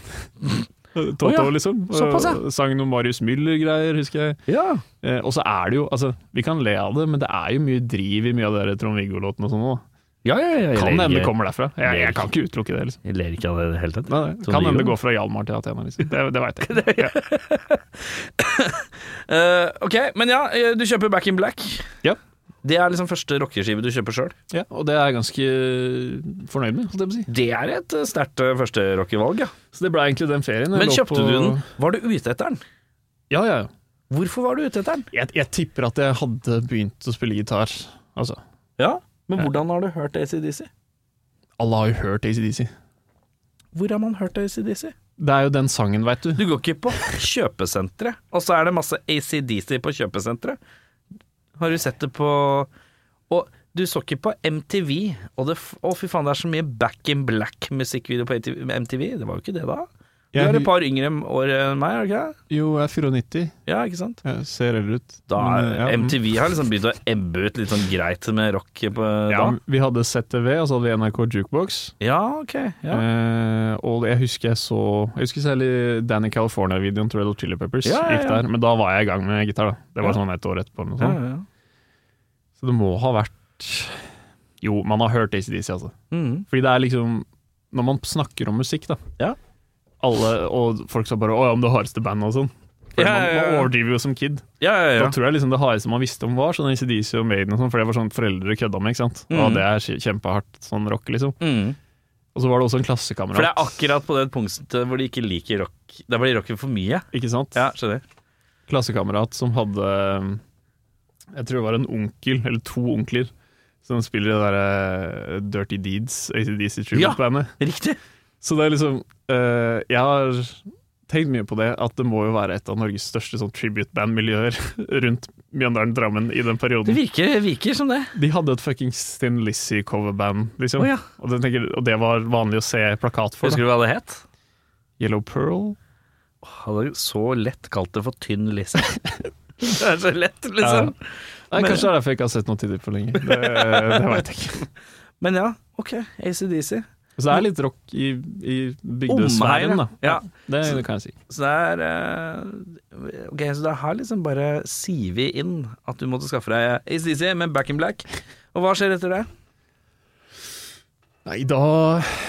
Speaker 4: Toto,
Speaker 3: Å ja,
Speaker 4: liksom.
Speaker 3: såpass, ja.
Speaker 4: Og Sang noen Marius Müller-greier, husker jeg.
Speaker 3: ja.
Speaker 4: Eh, og så er det jo, altså, vi kan le av det, men det er jo mye driv i mye av de der Trond-Viggo-låtene og sånn òg.
Speaker 3: Ja, ja, ja, jeg
Speaker 4: Kan
Speaker 3: ler
Speaker 4: hende det
Speaker 3: ikke-
Speaker 4: kommer derfra. Jeg, jeg kan ikke utelukke det, liksom.
Speaker 3: Jeg ler ikke av det i det hele tatt.
Speaker 4: Nei, nei.
Speaker 3: Trond
Speaker 4: Kan hende
Speaker 3: Viggo?
Speaker 4: det går fra Hjalmar til Athena, liksom. Det, det veit jeg. Ja.
Speaker 3: Eh, ok, men ja, eh, du kjøper Back in Black.
Speaker 4: Ja.
Speaker 3: Det er liksom første rockeskive du kjøper sjøl.
Speaker 4: ja, og det er jeg ganske eh, fornøyd med, holdt jeg på å si.
Speaker 3: Det er et eh, sterkt eh, første rockevalg, ja.
Speaker 4: Så det ble egentlig den ferien. jeg
Speaker 3: Men
Speaker 4: lå
Speaker 3: kjøpte
Speaker 4: på-
Speaker 3: du den? Var du ute etter den?
Speaker 4: Ja, ja. ja.
Speaker 3: Hvorfor var du ute etter den?
Speaker 4: Jeg, jeg tipper at jeg hadde begynt å spille gitar. Altså,
Speaker 3: Ja, men hvordan har du hørt ACDC?
Speaker 4: alle har jo hørt ACDC.
Speaker 3: Hvor har man hørt ACDC?
Speaker 4: Det er jo den sangen, veit du.
Speaker 3: Du går ikke på kjøpesenteret, og så er det masse ACDC på kjøpesenteret. Har du sett det på Og du så ikke på MTV, og det f- Å, fy faen, det er så mye Back in Black-musikkvideo på ATV MTV. Det var jo ikke det, da. Du
Speaker 4: Jeg-
Speaker 3: er et par yngre år enn meg, er du ikke det?
Speaker 4: Jo, jeg er 94.
Speaker 3: Ja, ikke sant?
Speaker 4: Jeg ser eldre ut.
Speaker 3: Da
Speaker 4: Men,
Speaker 3: er,
Speaker 4: ja, mm.
Speaker 3: MTV har liksom begynt å ebbe ut litt sånn greit med rock på
Speaker 4: ja,
Speaker 3: da.
Speaker 4: Vi hadde ZTV, og så hadde vi NRK Jukebox.
Speaker 3: Ja, ok. Ja.
Speaker 4: Eh, og jeg husker jeg så Jeg husker særlig Danny California-videoen til Red Hot Chili Peppers.
Speaker 3: Ja, ja, ja.
Speaker 4: Gikk der, men da var jeg i gang med gitar. da Det var
Speaker 3: Ja.
Speaker 4: sånn et år etterpå. Eller noe
Speaker 3: Ja,
Speaker 4: sånt.
Speaker 3: ja.
Speaker 4: Så det må ha vært Jo, man har hørt ACDC, altså.
Speaker 3: Mhm.
Speaker 4: Fordi det er liksom Når man snakker om musikk, da
Speaker 3: Ja.
Speaker 4: Alle, og folk sa bare 'Å ja, om det hardeste bandet' og sånn. For
Speaker 3: Ja, ja,
Speaker 4: Man,
Speaker 3: ja.
Speaker 4: man overdriver jo som kid.
Speaker 3: ja, ja, ja.
Speaker 4: Da tror jeg liksom det hardeste man visste om var sånn ACDC og Maiden og sånn, for det var sånn foreldre kødda med, ikke sant.
Speaker 3: Mhm.
Speaker 4: Og det er kje- kjempehardt sånn rock, liksom.
Speaker 3: Mhm.
Speaker 4: Og så var det også en klassekamerat.
Speaker 3: For det er akkurat på det punktet hvor de ikke liker rock. Der blir rocken for mye.
Speaker 4: Ikke sant?
Speaker 3: Ja, skjønner.
Speaker 4: klassekamerat som hadde eh, Jeg tror det var en onkel, eller to onkler, som spiller det derre Dirty Deeds, ACDC Tribute-bandet.
Speaker 3: Riktig.
Speaker 4: Så det er liksom eh, Jeg har tenkt mye på det, at det må jo være et av Norges største sånn tribute-band-miljøer rundt Mjøndalen Drammen i den
Speaker 3: Det
Speaker 4: perioden.
Speaker 3: virker, virker som det.
Speaker 4: De hadde et fuckings Thin Lizzie-coverband, liksom.
Speaker 3: Å, ja.
Speaker 4: og, det tenker, og det var vanlig å se plakat for.
Speaker 3: Husker
Speaker 4: Da.
Speaker 3: du hva det het?
Speaker 4: Yellow Pearl?
Speaker 3: Hadde jo så lett kalt det for tynn lisse. det er så lett, liksom.
Speaker 4: Nei,
Speaker 3: Men-
Speaker 4: Kanskje det er derfor jeg ikke har sett noe til dem på lenge. Det, det veit jeg ikke.
Speaker 3: Men ja, ok. ACDC.
Speaker 4: Så det er litt rock i, i bygdesfæren, da.
Speaker 3: Ja.
Speaker 4: Det, kan jeg si.
Speaker 3: Så det er eh, Ok, så det har liksom bare sivet inn at du måtte skaffe deg ACDC med Back in Black. Og hva skjer etter det?
Speaker 4: Nei, da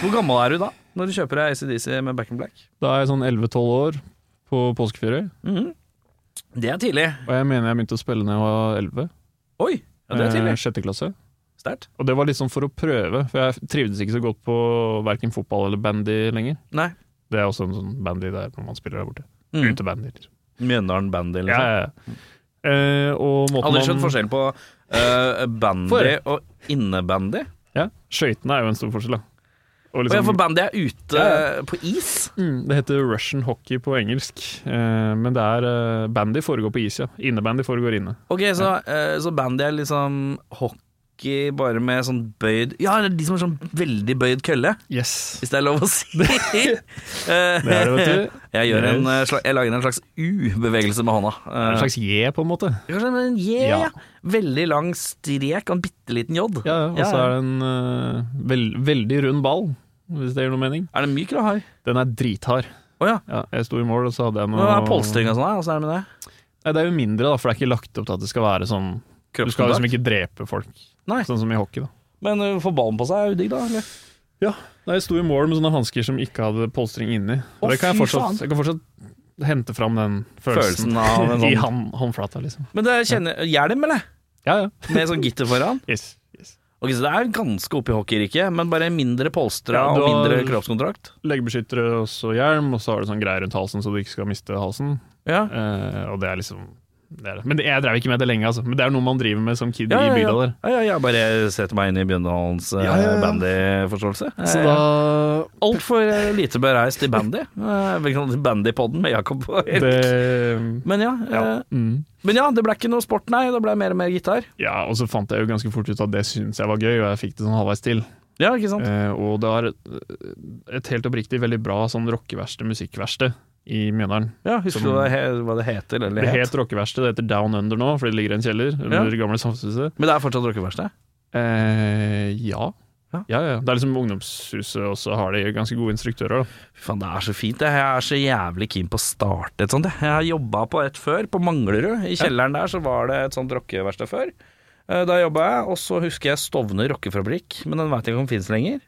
Speaker 3: Hvor gammel er du da, når du kjøper deg ACDC med Back in Black?
Speaker 4: Da er jeg sånn 11-12 år på påskeferie,
Speaker 3: Det er tidlig.
Speaker 4: og jeg mener jeg begynte å spille når jeg var 11.
Speaker 3: Oi, ja, det er
Speaker 4: eh,
Speaker 3: tidlig.
Speaker 4: Sjette klasse.
Speaker 3: Sterkt.
Speaker 4: Og det var litt sånn for å prøve, for jeg trivdes ikke så godt på verken fotball eller bandy lenger.
Speaker 3: Nei.
Speaker 4: Det er også en sånn bandy der når man spiller der borte.
Speaker 3: Mm.
Speaker 4: Utebandy. liksom.
Speaker 3: Mjøndalen Bandy, liksom.
Speaker 4: Ja, ja, ja. Eh, og måten
Speaker 3: Aldri skjønt
Speaker 4: man-
Speaker 3: forskjell på eh, bandy
Speaker 4: For-
Speaker 3: og innebandy.
Speaker 4: Ja, Skøytene er jo en stor forskjell, da. Og
Speaker 3: Og ja,
Speaker 4: liksom-
Speaker 3: for bandy er ute
Speaker 4: Ja,
Speaker 3: på is.
Speaker 4: Mm, det heter Russian hockey på engelsk, eh, men det er eh, bandy foregår på is, ja. Innebandy foregår inne.
Speaker 3: Ok, så, eh, så bandy er liksom hockey bare med sånn bøyd Ja, det er de som har sånn veldig bøyd kølle,
Speaker 4: Yes.
Speaker 3: hvis det er lov å si. Eh,
Speaker 4: Det er det, vet du.
Speaker 3: Jeg, gjør en, eh, sla- jeg lager en slags U-bevegelse med hånda. Eh,
Speaker 4: En slags J, på en måte.
Speaker 3: Kanskje en J,
Speaker 4: Ja.
Speaker 3: ja. Veldig lang strek og en bitte liten J.
Speaker 4: Ja, ja, Og så er det en eh, vel, veldig rund ball, hvis det gir noe mening.
Speaker 3: Er det myk eller hard?
Speaker 4: Den er drithard.
Speaker 3: Å ja.
Speaker 4: Ja, jeg sto i mål, og så hadde jeg noe
Speaker 3: Hva er polstring og sånn? her? Åssen er det med det?
Speaker 4: Nei, det er jo mindre, da, for det er ikke lagt opp til at det skal være sånn Du skal liksom ikke drepe folk,
Speaker 3: Nei.
Speaker 4: sånn som i hockey, da.
Speaker 3: Men å få ballen på seg er jo digg, da. Eller?
Speaker 4: Nei, jeg sto i mål med sånne hansker som ikke hadde polstring inni.
Speaker 3: Å,
Speaker 4: Og det kan jeg
Speaker 3: fy faen.
Speaker 4: fortsatt, jeg kan fortsatt hente fram den følelsen,
Speaker 3: Følelsen av en
Speaker 4: i
Speaker 3: sånn
Speaker 4: hånd, håndflata, liksom.
Speaker 3: Men det kjenner Hjelm, eller?
Speaker 4: Ja, ja.
Speaker 3: Med sånn gitter foran.
Speaker 4: Yes. yes.
Speaker 3: Ok, Så det er ganske oppe i hockeyriket, men bare mindre polstra
Speaker 4: Ja, du
Speaker 3: og mindre
Speaker 4: har-
Speaker 3: kroppskontrakt.
Speaker 4: Leggebeskyttere og så hjelm, og så har du sånn greier rundt halsen så du ikke skal miste halsen.
Speaker 3: Ja.
Speaker 4: Eh, og det er liksom det er det. Men det, jeg drev ikke med det lenge, altså. Men det er noe man driver med som kid
Speaker 3: Ja, ja,
Speaker 4: i bygda
Speaker 3: ja.
Speaker 4: der.
Speaker 3: Ja, ja, jeg bare setter meg inn i Bjøndalens ja,
Speaker 4: Ja, ja, ja.
Speaker 3: bandyforståelse.
Speaker 4: Så da
Speaker 3: Altfor eh, lite bereist i bandy. Eh, Velkommen til Bandypodden med Jakob og Erik.
Speaker 4: det,
Speaker 3: Men ja, eh,
Speaker 4: mm.
Speaker 3: men ja, det ble ikke noe sport, nei. Det ble mer og mer gitar.
Speaker 4: ja, og så fant jeg jo ganske fort ut at det syntes jeg var gøy, og jeg fikk det sånn halvveis til.
Speaker 3: Ja, ikke sant?
Speaker 4: Eh, og det er et, et helt oppriktig veldig bra sånn rockeverksted, musikkverksted, i Mjøndalen.
Speaker 3: Ja, Husker
Speaker 4: Som-
Speaker 3: du hva det he- hva det heter? Eller
Speaker 4: Det
Speaker 3: het?
Speaker 4: het rockeverksted, det heter Down Under nå, fordi det ligger i en kjeller under det gamle samfunnshuset.
Speaker 3: Men det er fortsatt rockeverksted?
Speaker 4: Eh, ja.
Speaker 3: Ja.
Speaker 4: Ja, ja, ja. Det er liksom ungdomshuset, og så har de ganske gode instruktører. Da.
Speaker 3: Fy faen, det er så fint. Jeg er så jævlig keen på å starte et sånt. jeg. Jeg har jobba på et før, på Manglerud. I kjelleren der så var det et sånt rockeverksted før. Eh, Da jobba jeg, og så husker jeg Stovner rockefabrikk, men den veit jeg ikke om fins lenger.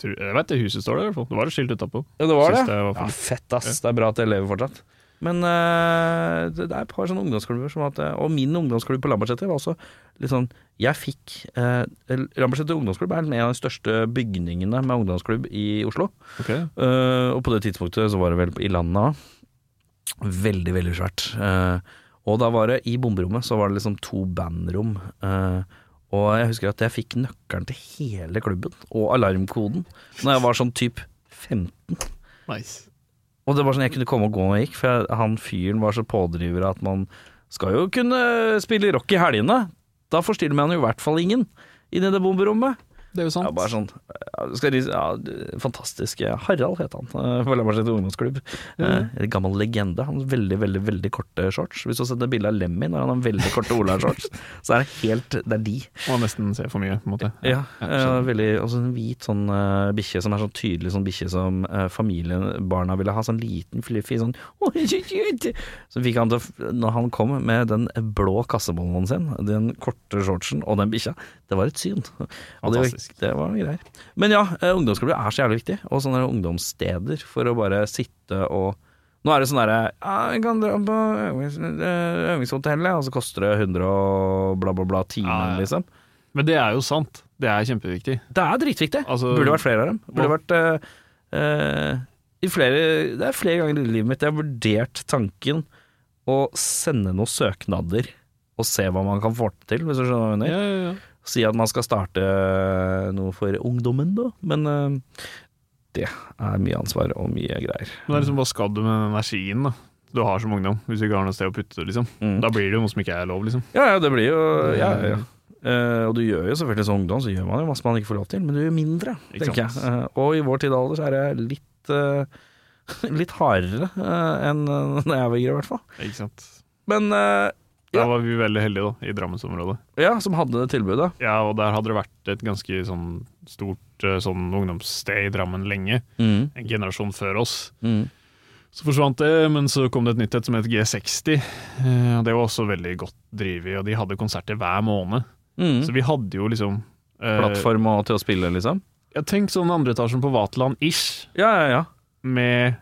Speaker 4: Tror- Jeg vet det huset står der, i hvert fall. Det var et skilt utapå.
Speaker 3: Ja, det var
Speaker 4: Synes
Speaker 3: det.
Speaker 4: det var
Speaker 3: ja,
Speaker 4: fint.
Speaker 3: fett, ass. Det er bra at jeg lever fortsatt. Men eh, det det er et par sånne ungdomsklubber som at eh, Og min ungdomsklubb på Lambertseter var også litt sånn Jeg fikk uh, Lambertseter ungdomsklubb er en av de største bygningene med ungdomsklubb i Oslo.
Speaker 4: Ok.
Speaker 3: Eh, og på det tidspunktet så var det vel i landet også. Veldig, veldig svært. Eh, Og da var det i bomberommet så var det liksom to bandrom. eh, og jeg husker at jeg fikk nøkkelen til hele klubben, og alarmkoden, når jeg var sånn typ 15.
Speaker 4: Nice.
Speaker 3: Og det var sånn jeg kunne komme og gå når jeg gikk, for jeg, han fyren var så pådriver at man skal jo kunne spille rock i helgene. Da forstyrrer man jo i hvert fall ingen inni det bomberommet.
Speaker 4: Det er jo sant.
Speaker 3: Ja, bare sånn, ja, skal, de- ja, fantastisk. Harald het han, eh, på Lemmerset ungdomsklubb. Eh, En gammel legende. Han har veldig, veldig veldig korte shorts. Hvis du har sett et bilde av Lemmy når han har veldig korte Olav-shorts, så er det helt Det er de.
Speaker 4: Må nesten se for mye, på en måte.
Speaker 3: Ja,
Speaker 4: skjønner.
Speaker 3: eh, veldig, også en hvit sånn eh, bikkje som er sånn tydelig sånn bikkje som eh, familien, barna ville ha. Sånn liten, fluffy sånn «Å, så cute!» Så fikk han til, å- når han kom med den blå kassebollen sin, den korte shortsen og den bikkja, det var et syn. Og det,
Speaker 4: Fantastisk.
Speaker 3: det var noen greier. Men ja, eh, ungdomsklubber er så jævlig viktig, og sånne ungdomssteder for å bare sitte og nå er det sånn derre ja, Vi kan dra på øvings, eh, øvingshotellet, og så koster det 100 og bla, bla, bla timen,
Speaker 4: Ja, ja.
Speaker 3: liksom.
Speaker 4: Men det er jo sant. Det er kjempeviktig.
Speaker 3: Det er dritviktig.
Speaker 4: Altså-
Speaker 3: Burde vært flere av dem. Burde vært eh, eh, i flere, Det er flere ganger i livet mitt jeg har vurdert tanken å sende noen søknader og se hva man kan få til, hvis du skjønner hva jeg mener.
Speaker 4: Ja, ja, ja.
Speaker 3: Si at man skal starte eh, noe for ungdommen, da. Men eh, det er mye ansvar og mye greier.
Speaker 4: Men det er liksom, hva skal du med den energien da? du har som ungdom, hvis du ikke har noe sted å putte det? liksom?
Speaker 3: Mm.
Speaker 4: Da blir det jo noe som ikke er lov, liksom.
Speaker 3: Ja, ja, det blir jo ja, ja, ja. Eh, og du gjør jo selvfølgelig som ungdom, så gjør man jo masse man ikke får lov til, men du gjør mindre,
Speaker 4: Ikke
Speaker 3: tenker jeg.
Speaker 4: sant.
Speaker 3: Eh, og i vår tid og alder så er det litt eh, Litt hardere eh, enn uh, da jeg var yngre, i hvert fall.
Speaker 4: Ikke sant?
Speaker 3: Men eh,
Speaker 4: Da
Speaker 3: Ja.
Speaker 4: var vi veldig heldige, da, i Drammensområdet.
Speaker 3: ja, som hadde det tilbudet.
Speaker 4: Ja, og der hadde det vært et ganske sånn stort eh, sånn ungdomssted i Drammen lenge. En generasjon før oss.
Speaker 3: Mm.
Speaker 4: Så forsvant det, men så kom det et nytt et som het G60. eh, og Det var også veldig godt drevet, og de hadde konserter hver måned.
Speaker 3: Mm.
Speaker 4: Så vi hadde jo liksom eh,
Speaker 3: Plattform og til å spille, liksom.
Speaker 4: Ja, tenk sånn andre etasjen på Vaterland-ish,
Speaker 3: Ja, ja, ja.
Speaker 4: med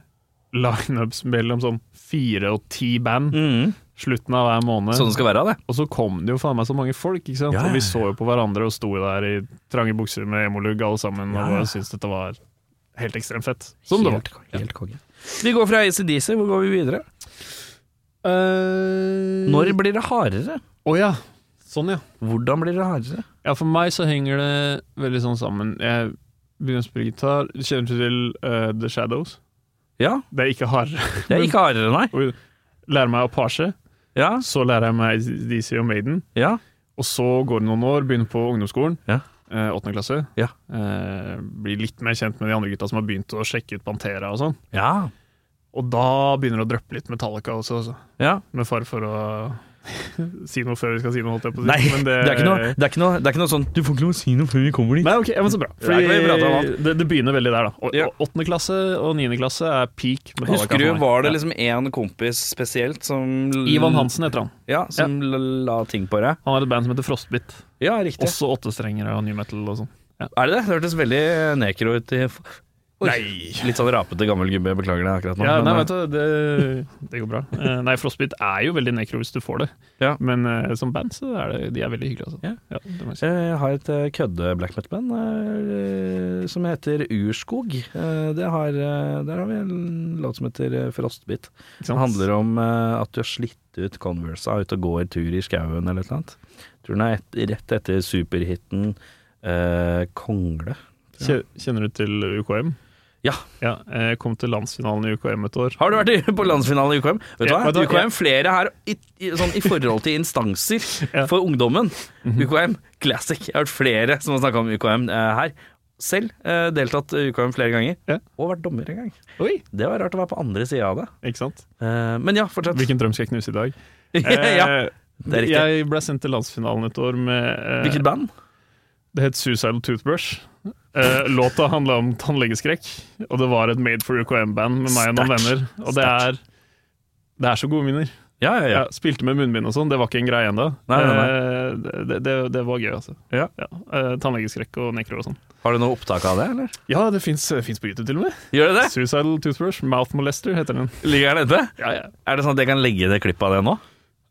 Speaker 4: lineups mellom sånn fire og ti band slutten av hver måned.
Speaker 3: Mm. Sånn det skal være, det.
Speaker 4: Og så kom det jo faen meg så mange folk, ikke sant?
Speaker 3: Ja, ja,
Speaker 4: og vi
Speaker 3: ja.
Speaker 4: så jo på hverandre og sto der i trange bukser med emolugg alle sammen
Speaker 3: Ja,
Speaker 4: og
Speaker 3: ja.
Speaker 4: bare syntes dette var helt ekstremt fett. Som det var.
Speaker 3: helt, konge, helt konge. Vi går fra ACDC, hvor går vi videre? Når
Speaker 4: Når
Speaker 3: blir det hardere?
Speaker 4: Å ja. Sånn, ja.
Speaker 3: Hvordan blir det hardere?
Speaker 4: Ja, for meg så henger det veldig sånn sammen. Jeg begynner å spille gitar. Kjenner du til eh, The Shadows?
Speaker 3: Ja,
Speaker 4: Det er ikke hardere.
Speaker 3: det er ikke hardere, nei.
Speaker 4: Lærer meg Apache,
Speaker 3: Ja,
Speaker 4: så lærer jeg meg DC og Maiden.
Speaker 3: ja.
Speaker 4: Og så går det noen år, begynner på ungdomsskolen.
Speaker 3: Ja.
Speaker 4: eh, Åttende klasse.
Speaker 3: Ja.
Speaker 4: Eh, blir litt mer kjent med de andre gutta som har begynt å sjekke ut Pantera og sånn.
Speaker 3: Ja.
Speaker 4: Og da begynner det å dryppe litt Metallica også, altså.
Speaker 3: ja.
Speaker 4: med fare for å si noe før vi skal si noe, holdt jeg på å si.
Speaker 3: Nei,
Speaker 4: Men
Speaker 3: det, er ikke noe, det, er ikke noe, det er ikke noe sånn Du får ikke lov å si noe før vi kommer dit.
Speaker 4: Nei, ok, ja, men så bra.
Speaker 3: Det er ikke noe vi prater om
Speaker 4: Fordi
Speaker 3: alt.
Speaker 4: det, det begynner veldig der, da. Og-
Speaker 3: Ja.
Speaker 4: og Åttende klasse og niende klasse er peak Metallica.
Speaker 3: Husker du,
Speaker 4: for meg.
Speaker 3: var det
Speaker 4: Ja.
Speaker 3: liksom én kompis spesielt som
Speaker 4: Ivan Hansen heter han.
Speaker 3: Ja, som l- la ting på deg?
Speaker 4: Han har et band som heter Frostbit.
Speaker 3: Ja, riktig.
Speaker 4: Også åttestrengere og new metal og sånn.
Speaker 3: er det det? Det hørtes veldig nekro ut i Oi. Litt sånn rapete gammel gubbe, jeg beklager det akkurat nå.
Speaker 4: Ja,
Speaker 3: men,
Speaker 4: nei,
Speaker 3: eh,
Speaker 4: vet du, det, det går bra. Eh, Nei, Frostbit er jo veldig nekro hvis du får det,
Speaker 3: Ja.
Speaker 4: men eh, som band så er det, de er veldig hyggelige. Altså.
Speaker 3: Ja.
Speaker 4: det må jeg si.
Speaker 3: Jeg har et eh, kødde black metal-band eh, som heter Urskog. Eh, Det har, eh, der har vi en låt som heter eh, Frostbit.
Speaker 4: Ikke
Speaker 3: Den
Speaker 4: sant?
Speaker 3: handler om eh, at du har slitt ut Conversa ut og går tur i skauen eller et eller annet. Tror den er et, rett etter superhiten eh, Kongle.
Speaker 4: Kje- Kjenner du til UKM?
Speaker 3: Ja.
Speaker 4: Jeg eh, kom til landsfinalen i UKM et år.
Speaker 3: Har du vært i- på landsfinalen i UKM? Vet du
Speaker 4: Ja,
Speaker 3: hva?
Speaker 4: vet du hva?
Speaker 3: UKM, flere her i, i, sånn, i forhold til instanser
Speaker 4: Ja.
Speaker 3: for ungdommen. UKM, classic. Jeg har hørt flere som har snakka om UKM eh, her. Selv eh, deltatt i UKM flere ganger,
Speaker 4: Ja.
Speaker 3: og vært dommer en gang.
Speaker 4: Oi!
Speaker 3: Det var rart å være på andre sida av det.
Speaker 4: Ikke sant?
Speaker 3: Eh, men ja, fortsett.
Speaker 4: Hvilken drøm skal jeg knuse i dag?
Speaker 3: ja,
Speaker 4: Eh,
Speaker 3: det er riktig.
Speaker 4: Jeg ble sendt til landsfinalen et år med eh,
Speaker 3: Hvilket band?
Speaker 4: Det het Suicidal Toothbrush. Eh, låta handla om tannlegeskrekk, og det var et Made for UKM-band med meg og noen
Speaker 3: Sterkt.
Speaker 4: venner. Og det er, det er så gode minner.
Speaker 3: Ja, ja, ja.
Speaker 4: Jeg spilte med munnbind og sånn, det var ikke en greie ennå.
Speaker 3: Nei, nei, nei.
Speaker 4: Eh, det, det, det var gøy, altså.
Speaker 3: Ja.
Speaker 4: Eh, tannlegeskrekk og nekro og sånn.
Speaker 3: Har du noe opptak av det, eh, eller?
Speaker 4: Ja, det fins på YouTube til og med.
Speaker 3: Gjør det det?
Speaker 4: Suicidal Toothbrush, Mouth Molester heter den.
Speaker 3: Ligger den ute?
Speaker 4: Ja, ja.
Speaker 3: Er det sånn at jeg kan legge det klippet av det nå?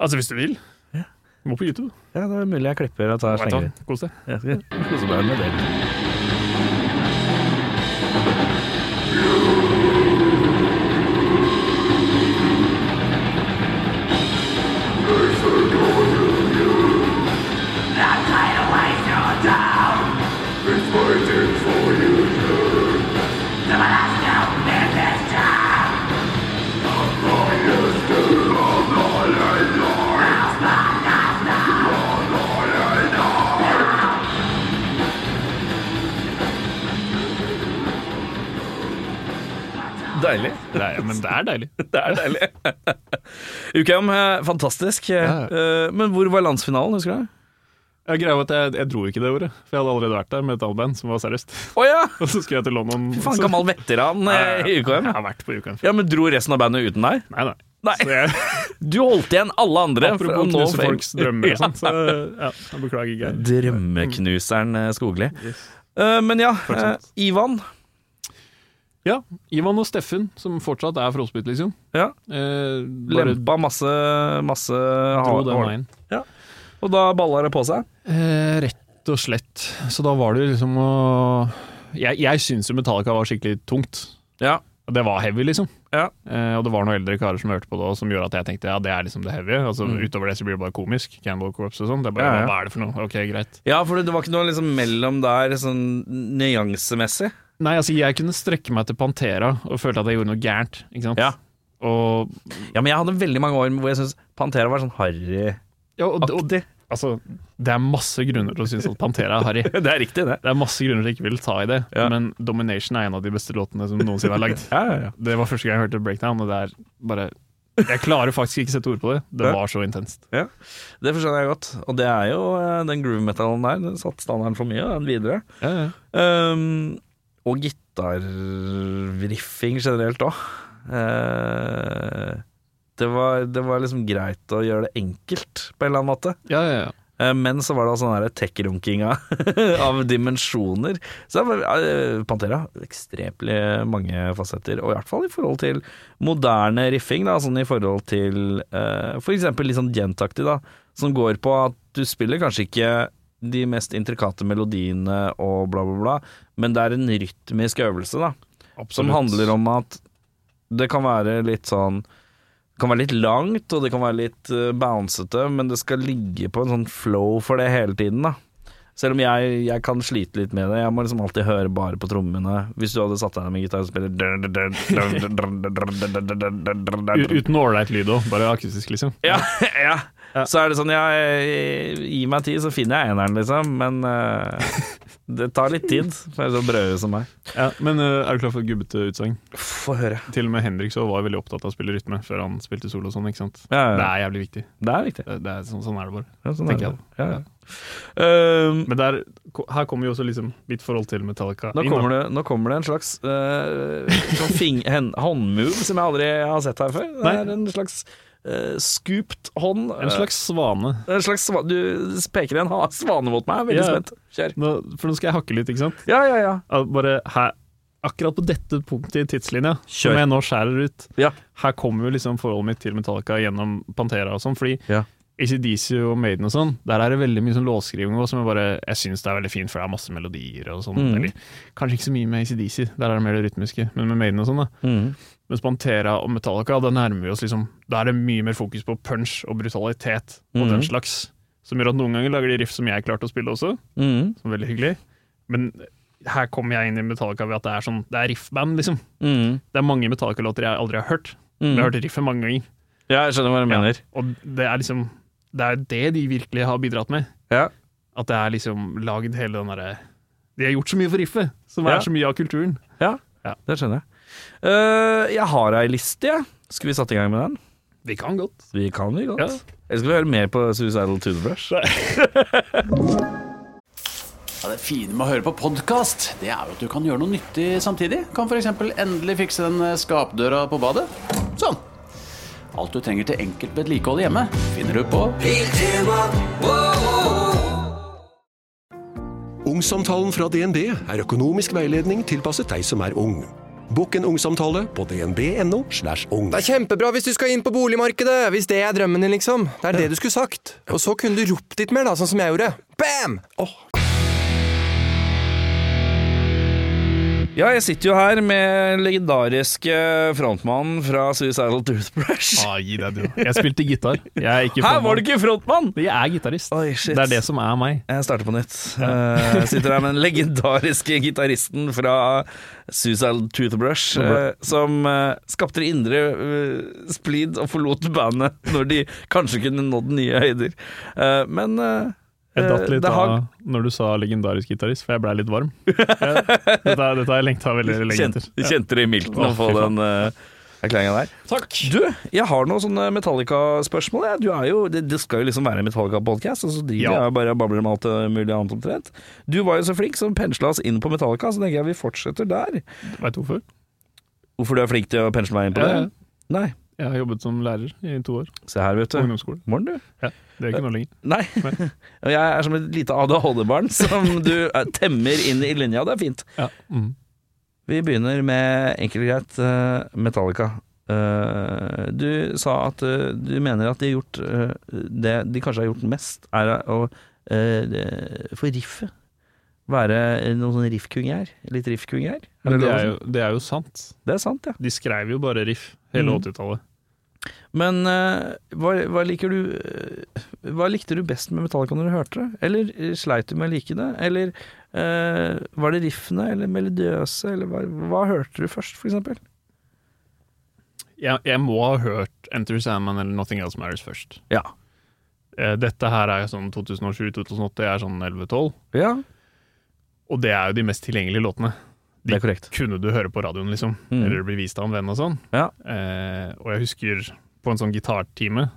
Speaker 4: Altså, hvis du vil. Må på YouTube.
Speaker 3: Ja, det er mulig jeg klipper og tar
Speaker 4: Vet du hva? Kos deg.
Speaker 3: Jeg skal kose meg med det. deilig.
Speaker 4: Nei, men det er deilig.
Speaker 3: Det er deilig. UKM, eh, fantastisk.
Speaker 4: Ja.
Speaker 3: Eh, Men hvor var landsfinalen, husker du? det?
Speaker 4: Jeg greier at jeg, jeg dro ikke det ordet, for jeg hadde allerede vært der med et allband som var seriøst.
Speaker 3: Å ja!
Speaker 4: Og så skulle jeg til London.
Speaker 3: Fy faen, gammel veteran eh, i UKM.
Speaker 4: Jeg har vært på UKM før.
Speaker 3: Ja, men dro resten av bandet uten deg?
Speaker 4: Nei, nei.
Speaker 3: Nei.
Speaker 4: Så jeg,
Speaker 3: Du holdt igjen alle andre. for å
Speaker 4: apropos
Speaker 3: nå
Speaker 4: knuse
Speaker 3: fame.
Speaker 4: folks drømmer og sånn, så ja, jeg beklager ikke.
Speaker 3: Drømmeknuseren eh, Skogli. Eh, men ja, eh, Ivan.
Speaker 4: Ja, Ivan og Steffen, som fortsatt er frostbitt, liksom.
Speaker 3: Ja,
Speaker 4: Eh, bare
Speaker 3: lempa masse, masse
Speaker 4: dro den
Speaker 3: hår.
Speaker 4: veien.
Speaker 3: Og da balla det på seg.
Speaker 4: Eh, rett og slett. Så da var det liksom å Jeg, jeg syns jo Metallica var skikkelig tungt.
Speaker 3: Ja.
Speaker 4: Det var heavy, liksom.
Speaker 3: Ja.
Speaker 4: Eh, og det var noen eldre karer som hørte på det, også, som gjorde at jeg tenkte ja, det er liksom det heavy. Altså, Utover det så blir det bare komisk. Cannibal Corpse og sånn. Det er bare
Speaker 3: Ja, ja.
Speaker 4: hva er det for noe? Ok, greit.
Speaker 3: ja, for det var ikke noe liksom mellom der sånn nyansemessig.
Speaker 4: Nei, altså jeg kunne strekke meg til Pantera og følte at jeg gjorde noe gærent. Ikke sant?
Speaker 3: Ja.
Speaker 4: Og,
Speaker 3: Ja, men jeg hadde veldig mange år hvor jeg syntes Pantera var sånn harryaktig.
Speaker 4: ja, og, og altså, det er masse grunner til å synes at Pantera er harry.
Speaker 3: Det er riktig, det.
Speaker 4: Det er masse grunner til ikke vil ta i det,
Speaker 3: Ja.
Speaker 4: men Domination er en av de beste låtene som noensinne er lagd.
Speaker 3: Ja, ja, ja.
Speaker 4: Det var første gang jeg hørte Breakdown, og det er bare Jeg klarer faktisk ikke sette ord på det. Det
Speaker 3: Ja.
Speaker 4: var så intenst.
Speaker 3: Det forstår jeg godt. Og det er jo eh, den groove metalen der. Den satte standarden for mye, og den videre. Um, og gitarriffing generelt òg. det, var, det var liksom greit å gjøre det enkelt, på en eller annen måte.
Speaker 4: Ja, ja, ja.
Speaker 3: Eh, men så var det sånn der tech-runking av, av dimensjoner. Så det var, eh, Pantera ekstremt mange fasetter, og i hvert fall i forhold til moderne riffing. Da, sånn i forhold til eh, for eksempel litt sånn gentaktig, da, som går på at du spiller kanskje ikke de mest intrikate melodiene og bla, bla, bla, men det er en rytmisk øvelse, da. Som handler om at det kan være litt sånn Det kan være litt langt, og det kan være litt eh, bouncete, men det skal ligge på en sånn flow for det hele tiden, da. Selv om jeg, jeg kan slite litt med det. Jeg må liksom alltid høre bare på trommene. Hvis du hadde satt deg ned med gitar og
Speaker 4: U
Speaker 3: spiller
Speaker 4: uten ålreit lyd òg, bare akustisk, liksom.
Speaker 3: ja, ja. Så er det sånn, ja, eh, gi meg tid, så finner jeg eneren, liksom. Men eh, det tar litt tid for en sånn brødhue som meg.
Speaker 4: Ja, men eh, er du klar for et gubbete utsagn?
Speaker 3: Få høre.
Speaker 4: Til og med Henrik så var veldig opptatt av å spille rytme før han spilte solo og sånn, ikke sant.
Speaker 3: Ja,
Speaker 4: Det
Speaker 3: ja.
Speaker 4: er jævlig viktig.
Speaker 3: Det er viktig.
Speaker 4: Det, det er, sånn, sånn er det bare.
Speaker 3: Ja, sånn
Speaker 4: Tenker
Speaker 3: er det. Ja, ja. Um,
Speaker 4: Men der, ko- her kommer jo også liksom mitt forhold til Metallica
Speaker 3: nå, kommer det, nå kommer det en slags eh, sånn fing, hen, håndmove som jeg aldri har sett her før. Det
Speaker 4: Nei.
Speaker 3: er en slags uh, scooped hånd.
Speaker 4: En slags svane.
Speaker 3: Eh, en slags sva- du peker en ha- svane mot meg.
Speaker 4: Ja.
Speaker 3: Veldig spent. Kjør.
Speaker 4: Nå, for nå skal jeg hakke litt, ikke sant?
Speaker 3: Ja, ja, ja.
Speaker 4: Ja, Bare her, akkurat på dette punktet i tidslinja,
Speaker 3: Kjør.
Speaker 4: som jeg nå skjærer ut,
Speaker 3: Ja.
Speaker 4: her kommer jo liksom forholdet mitt til Metallica gjennom Pantera og sånn, fordi
Speaker 3: Ja.
Speaker 4: ACDC og Maiden og sånn, der er det veldig mye sånn låtskriving også, som jeg bare jeg syns det er veldig fint, for det er masse melodier og sånn.
Speaker 3: Mhm.
Speaker 4: Eller, kanskje ikke så mye med ACDC, der er det mer det rytmiske, men med Maiden og sånn, da.
Speaker 3: Mm.
Speaker 4: Mens Pantera og Metallica, da nærmer vi oss liksom Da er det mye mer fokus på punch og brutalitet og
Speaker 3: Mhm.
Speaker 4: den slags. Som gjør at noen ganger lager de riff som jeg klarte å spille også,
Speaker 3: Mhm.
Speaker 4: som er veldig hyggelig. Men her kommer jeg inn i Metallica ved at det er sånn Det er riffband, liksom.
Speaker 3: Mhm.
Speaker 4: Det er mange Metallica-låter jeg aldri har hørt. Men jeg har
Speaker 3: Mhm.
Speaker 4: hørt riffet mange ganger.
Speaker 3: Ja, jeg skjønner hva du mener.
Speaker 4: Ja, og det er liksom Det er det de virkelig har bidratt med.
Speaker 3: Ja.
Speaker 4: At det er liksom lagd hele den derre De har gjort så mye for riffet, som
Speaker 3: Ja.
Speaker 4: er så mye av kulturen.
Speaker 3: Det skjønner jeg. Eh, jeg har ei liste, jeg. Skulle vi satt i gang med den?
Speaker 4: Vi kan godt.
Speaker 3: Vi kan vi godt.
Speaker 4: Ja.
Speaker 3: Eller skal vi høre mer på Suicidal Toothbrush?
Speaker 5: Ja, det fine med å høre på podkast, det er jo at du kan gjøre noe nyttig samtidig. Kan f.eks. endelig fikse den eh, skapdøra på badet. Sånn. Alt du trenger til enkelt vedlikehold hjemme, finner du på
Speaker 6: Ungsamtalen fra DNB er økonomisk veiledning tilpasset deg som er ung. Bokk en ungsamtale på dnb.no. slash ung.
Speaker 7: Det er kjempebra hvis du skal inn på boligmarkedet, hvis det er drømmen din, liksom. Det er det du skulle sagt. Og så kunne du ropt litt mer, da, sånn som jeg gjorde. Bam!
Speaker 3: Ja, jeg sitter jo her med legendariske frontmannen fra Suicidal Toothbrush.
Speaker 4: Ah, gi deg, du. Jeg spilte gitar. Jeg er ikke
Speaker 3: Her var du ikke frontmann!
Speaker 4: Jeg er gitarist.
Speaker 3: Oi, shit.
Speaker 4: Det er det som er meg.
Speaker 3: Jeg starter på nytt. Eh, Jeg sitter her med den legendariske gitaristen fra Suicidal Toothbrush, eh, som eh, skapte indre eh, splid og forlot bandet når de kanskje kunne nådd nye høyder. Eh, Men eh,
Speaker 4: Jeg datt litt
Speaker 3: det har-
Speaker 4: av når du sa legendarisk gitarist, for jeg blei litt varm. Jeg, dette har dette har jeg lengta veldig lenge
Speaker 3: Kjente,
Speaker 4: etter. Ja.
Speaker 3: kjente det i milten å
Speaker 4: Å,
Speaker 3: få
Speaker 4: fy faen.
Speaker 3: den uh, erklæringa der.
Speaker 4: Takk!
Speaker 3: Du, jeg har noen sånne Metallica-spørsmål. jeg. Du er jo, det, det skal jo liksom være en Metallica-podkast, og så driver
Speaker 4: Ja.
Speaker 3: jeg bare og babler om alt eh, mulig annet omtrent. Du var jo så flink som pensla oss inn på Metallica, så tenker jeg vi fortsetter der.
Speaker 4: Veit du hvorfor?
Speaker 3: Hvorfor du er flink til å pensle meg inn på det?
Speaker 4: Jeg,
Speaker 3: Nei.
Speaker 4: jeg har jobbet som lærer i to år
Speaker 3: Se her, vet
Speaker 4: på
Speaker 3: du.
Speaker 4: ungdomsskolen.
Speaker 3: Morn, du.
Speaker 4: Det er ikke noe lenger.
Speaker 3: Nei. Og jeg er som et lite ADHD-barn som du eh, temmer inn i linja. Det er fint.
Speaker 4: Ja. Mm.
Speaker 3: Vi begynner med enkelt og greit eh, Metallica. Eh, du sa at eh, du mener at de har gjort eh, det de kanskje har gjort mest, er å eh, det- for riffet. Være noen sånn riffkung her. Litt riffkung her.
Speaker 4: Men det
Speaker 3: lov å
Speaker 4: er,
Speaker 3: si?
Speaker 4: jo, det er jo sant.
Speaker 3: det er sant, ja.
Speaker 4: De skrev jo bare riff hele
Speaker 3: Mhm.
Speaker 4: 80-tallet.
Speaker 3: Men eh, hva, hva liker du eh, Hva likte du best med Metallica når du hørte det? Eller eh, sleit du med å like det? Eller eh, var det riffene, eller melodiøse, eller hva, hva hørte du først, for eksempel?
Speaker 4: Jeg, jeg må ha hørt Enter Sandman eller Nothing Else Matters først.
Speaker 3: Ja.
Speaker 4: Eh, Dette her er jo sånn 2007-2008, jeg er sånn 11-12,
Speaker 3: Ja,
Speaker 4: og det er jo de mest tilgjengelige låtene.
Speaker 3: det er korrekt.
Speaker 4: Kunne du høre på radioen, liksom,
Speaker 3: Mhm.
Speaker 4: eller bli vist av en venn og sånn.
Speaker 3: Ja.
Speaker 4: Eh, og jeg husker på en sånn gitartime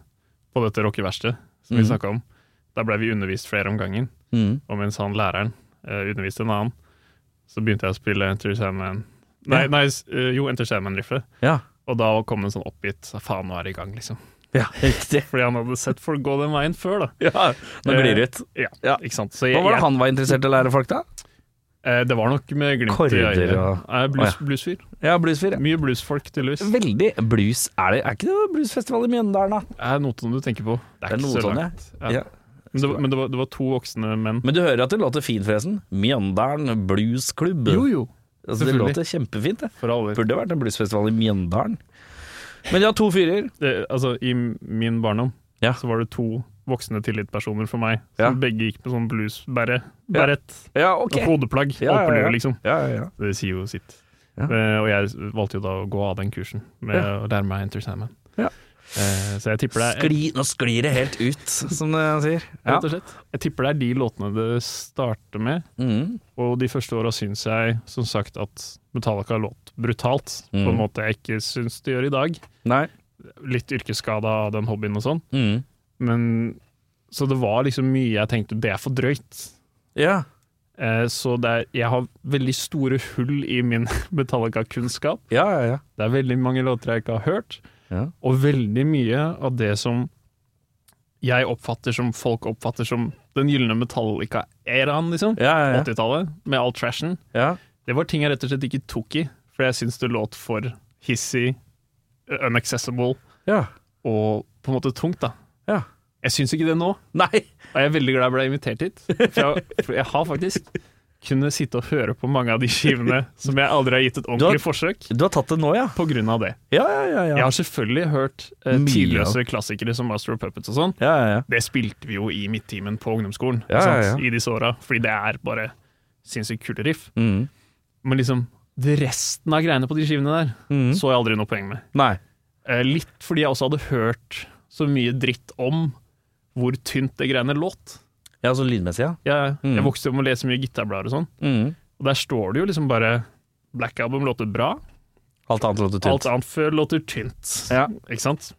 Speaker 4: på dette rockeverkstedet som vi
Speaker 3: Mhm.
Speaker 4: snakka om, der blei vi undervist flere om gangen.
Speaker 3: Mm.
Speaker 4: Og mens han læreren eh, underviste en annen, så begynte jeg å spille Enter Sandman Nei,
Speaker 3: Ja.
Speaker 4: nei s- eh, jo, Enter Sandman-riffet.
Speaker 3: Ja.
Speaker 4: Og da kom det en sånn oppgitt Faen, nå er det i gang, liksom.
Speaker 3: Ja, riktig.
Speaker 4: Fordi han hadde sett folk gå den veien før, da.
Speaker 3: Ja, nå
Speaker 4: Eh,
Speaker 3: glir det ut.
Speaker 4: Ja,
Speaker 3: Ja.
Speaker 4: ikke sant. Så jeg,
Speaker 3: Hva var det
Speaker 4: jeg,
Speaker 3: han var interessert i å lære folk, da?
Speaker 4: eh, det var nok med glimt
Speaker 3: Korrider
Speaker 4: i øyet.
Speaker 3: og-
Speaker 4: Eh, blues,
Speaker 3: Å, ja.
Speaker 4: Bluesfyr.
Speaker 3: Ja, bluesfyr.
Speaker 4: Mye bluesfolk, tydeligvis. Det
Speaker 3: Veldig blues. Er det er ikke det bluesfestival i Mjøndalen, da?
Speaker 4: er Notodden du tenker på. Det er, ikke så
Speaker 3: Notodden,
Speaker 4: langt. Ja.
Speaker 3: sånn, Ja.
Speaker 4: Men, det, var- men det, var, det var to voksne menn.
Speaker 3: Men du hører at det låter fint, forresten. Mjøndalen bluesklubb.
Speaker 4: jo.
Speaker 3: altså, det
Speaker 4: selvfølgelig.
Speaker 3: låter kjempefint, det.
Speaker 4: For alle.
Speaker 3: Burde vært en bluesfestival i Mjøndalen. Men de har to fyrer.
Speaker 4: det, altså, I min barndom
Speaker 3: Ja.
Speaker 4: så var det to voksne tillitspersoner for meg,
Speaker 3: Ja.
Speaker 4: som begge gikk med sånn bluesbære,
Speaker 3: Ja.
Speaker 4: bærett,
Speaker 3: Ja, ok.
Speaker 4: og hodeplagg,
Speaker 3: Ja, ja,
Speaker 4: oppelue,
Speaker 3: ja.
Speaker 4: liksom.
Speaker 3: Ja, ja, ja.
Speaker 4: Det sier jo sitt.
Speaker 3: Ja.
Speaker 4: Eh, og jeg valgte jo da å gå av den kursen med å lære meg Enter Sandman.
Speaker 3: Ja.
Speaker 4: Eh, så jeg tipper, det er,
Speaker 3: Skli, nå sklir det helt ut, som det sier. Ja.
Speaker 4: rett og slett, jeg tipper det er de låtene det starter med.
Speaker 3: Mm.
Speaker 4: Og de første åra syns jeg som sagt at Metallica låt brutalt, på
Speaker 3: Mm.
Speaker 4: en måte jeg ikke syns det gjør i dag.
Speaker 3: Nei.
Speaker 4: Litt yrkesskada av den hobbyen og sånn.
Speaker 3: Mm.
Speaker 4: Men, så det var liksom mye jeg tenkte det er for drøyt.
Speaker 3: Ja.
Speaker 4: Eh, så det er, jeg har veldig store hull i min Metallica-kunnskap.
Speaker 3: Ja, ja, ja.
Speaker 4: Det er veldig mange låter jeg ikke har hørt,
Speaker 3: Ja.
Speaker 4: og veldig mye av det som jeg oppfatter som folk oppfatter som den gylne Metallica-æraen, liksom.
Speaker 3: Ja, ja, ja.
Speaker 4: 80-tallet, med all trashen.
Speaker 3: ja.
Speaker 4: Det var ting jeg rett og slett ikke tok i, for jeg syns det låt for hissig, unaccessible
Speaker 3: ja.
Speaker 4: og på en måte tungt, da.
Speaker 3: Ja.
Speaker 4: Jeg syns ikke det nå, og
Speaker 3: Nei!
Speaker 4: jeg er veldig glad jeg ble invitert hit. For jeg, for jeg har faktisk kunnet sitte og høre på mange av de skivene som jeg aldri har gitt et
Speaker 3: Du har-
Speaker 4: ordentlig forsøk,
Speaker 3: Du har tatt det nå, ja?
Speaker 4: på grunn av det.
Speaker 3: Ja, ja, ja.
Speaker 4: Jeg har selvfølgelig hørt eh,
Speaker 3: Mye,
Speaker 4: tidløse klassikere som Master of Puppets og sånn.
Speaker 3: Ja, ja, ja.
Speaker 4: Det spilte vi jo i midttimen på ungdomsskolen
Speaker 3: Ja,
Speaker 4: sant?
Speaker 3: ja, ja.
Speaker 4: i disse åra, fordi det er bare sinnssykt kule riff.
Speaker 3: Mm.
Speaker 4: Men liksom det resten av greiene på de skivene der
Speaker 3: Mm.
Speaker 4: så jeg aldri noe poeng med.
Speaker 3: Nei.
Speaker 4: Eh, litt fordi jeg også hadde hørt så mye dritt om hvor tynt det greiene låt.
Speaker 3: Ja, altså lydmessig, ja.
Speaker 4: Jeg,
Speaker 3: Mm.
Speaker 4: jeg vokste opp med å lese mye gitarblader og sånn, og der står det jo liksom bare Black Album låter bra,
Speaker 3: Alt annet låter tynt.
Speaker 4: alt annet før låter tynt.
Speaker 3: Ja.
Speaker 4: Ikke sant?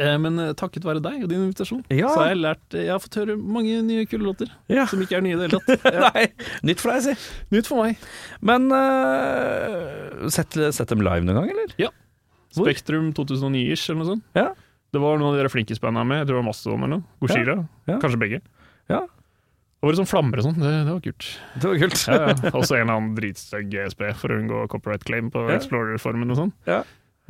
Speaker 4: Eh, men eh, takket være deg og din invitasjon,
Speaker 3: Ja.
Speaker 4: så har jeg lært eh, Jeg har fått høre mange nye kule låter
Speaker 3: Ja.
Speaker 4: som ikke er nye i det hele tatt. Ja.
Speaker 3: Nei, nytt for deg, si.
Speaker 4: Nytt for meg.
Speaker 3: Men eh, sett, sett dem live noen gang, eller? Hvor?
Speaker 4: Spektrum 2009-ish eller noe sånt.
Speaker 3: Ja.
Speaker 4: Det var noen av de der flinkisbanda med. Jeg tror det var Mastodon eller noe. Goshira.
Speaker 3: Ja. Ja.
Speaker 4: Kanskje begge.
Speaker 3: Ja.
Speaker 4: Det var litt sånn flammer og sånn. Det, det var kult.
Speaker 3: Det var kult.
Speaker 4: Ja, ja. Også en eller annen dritstygg GSP for å unngå copyright claim på
Speaker 3: Ja.
Speaker 4: Explorer-formen og sånn.
Speaker 3: Ja.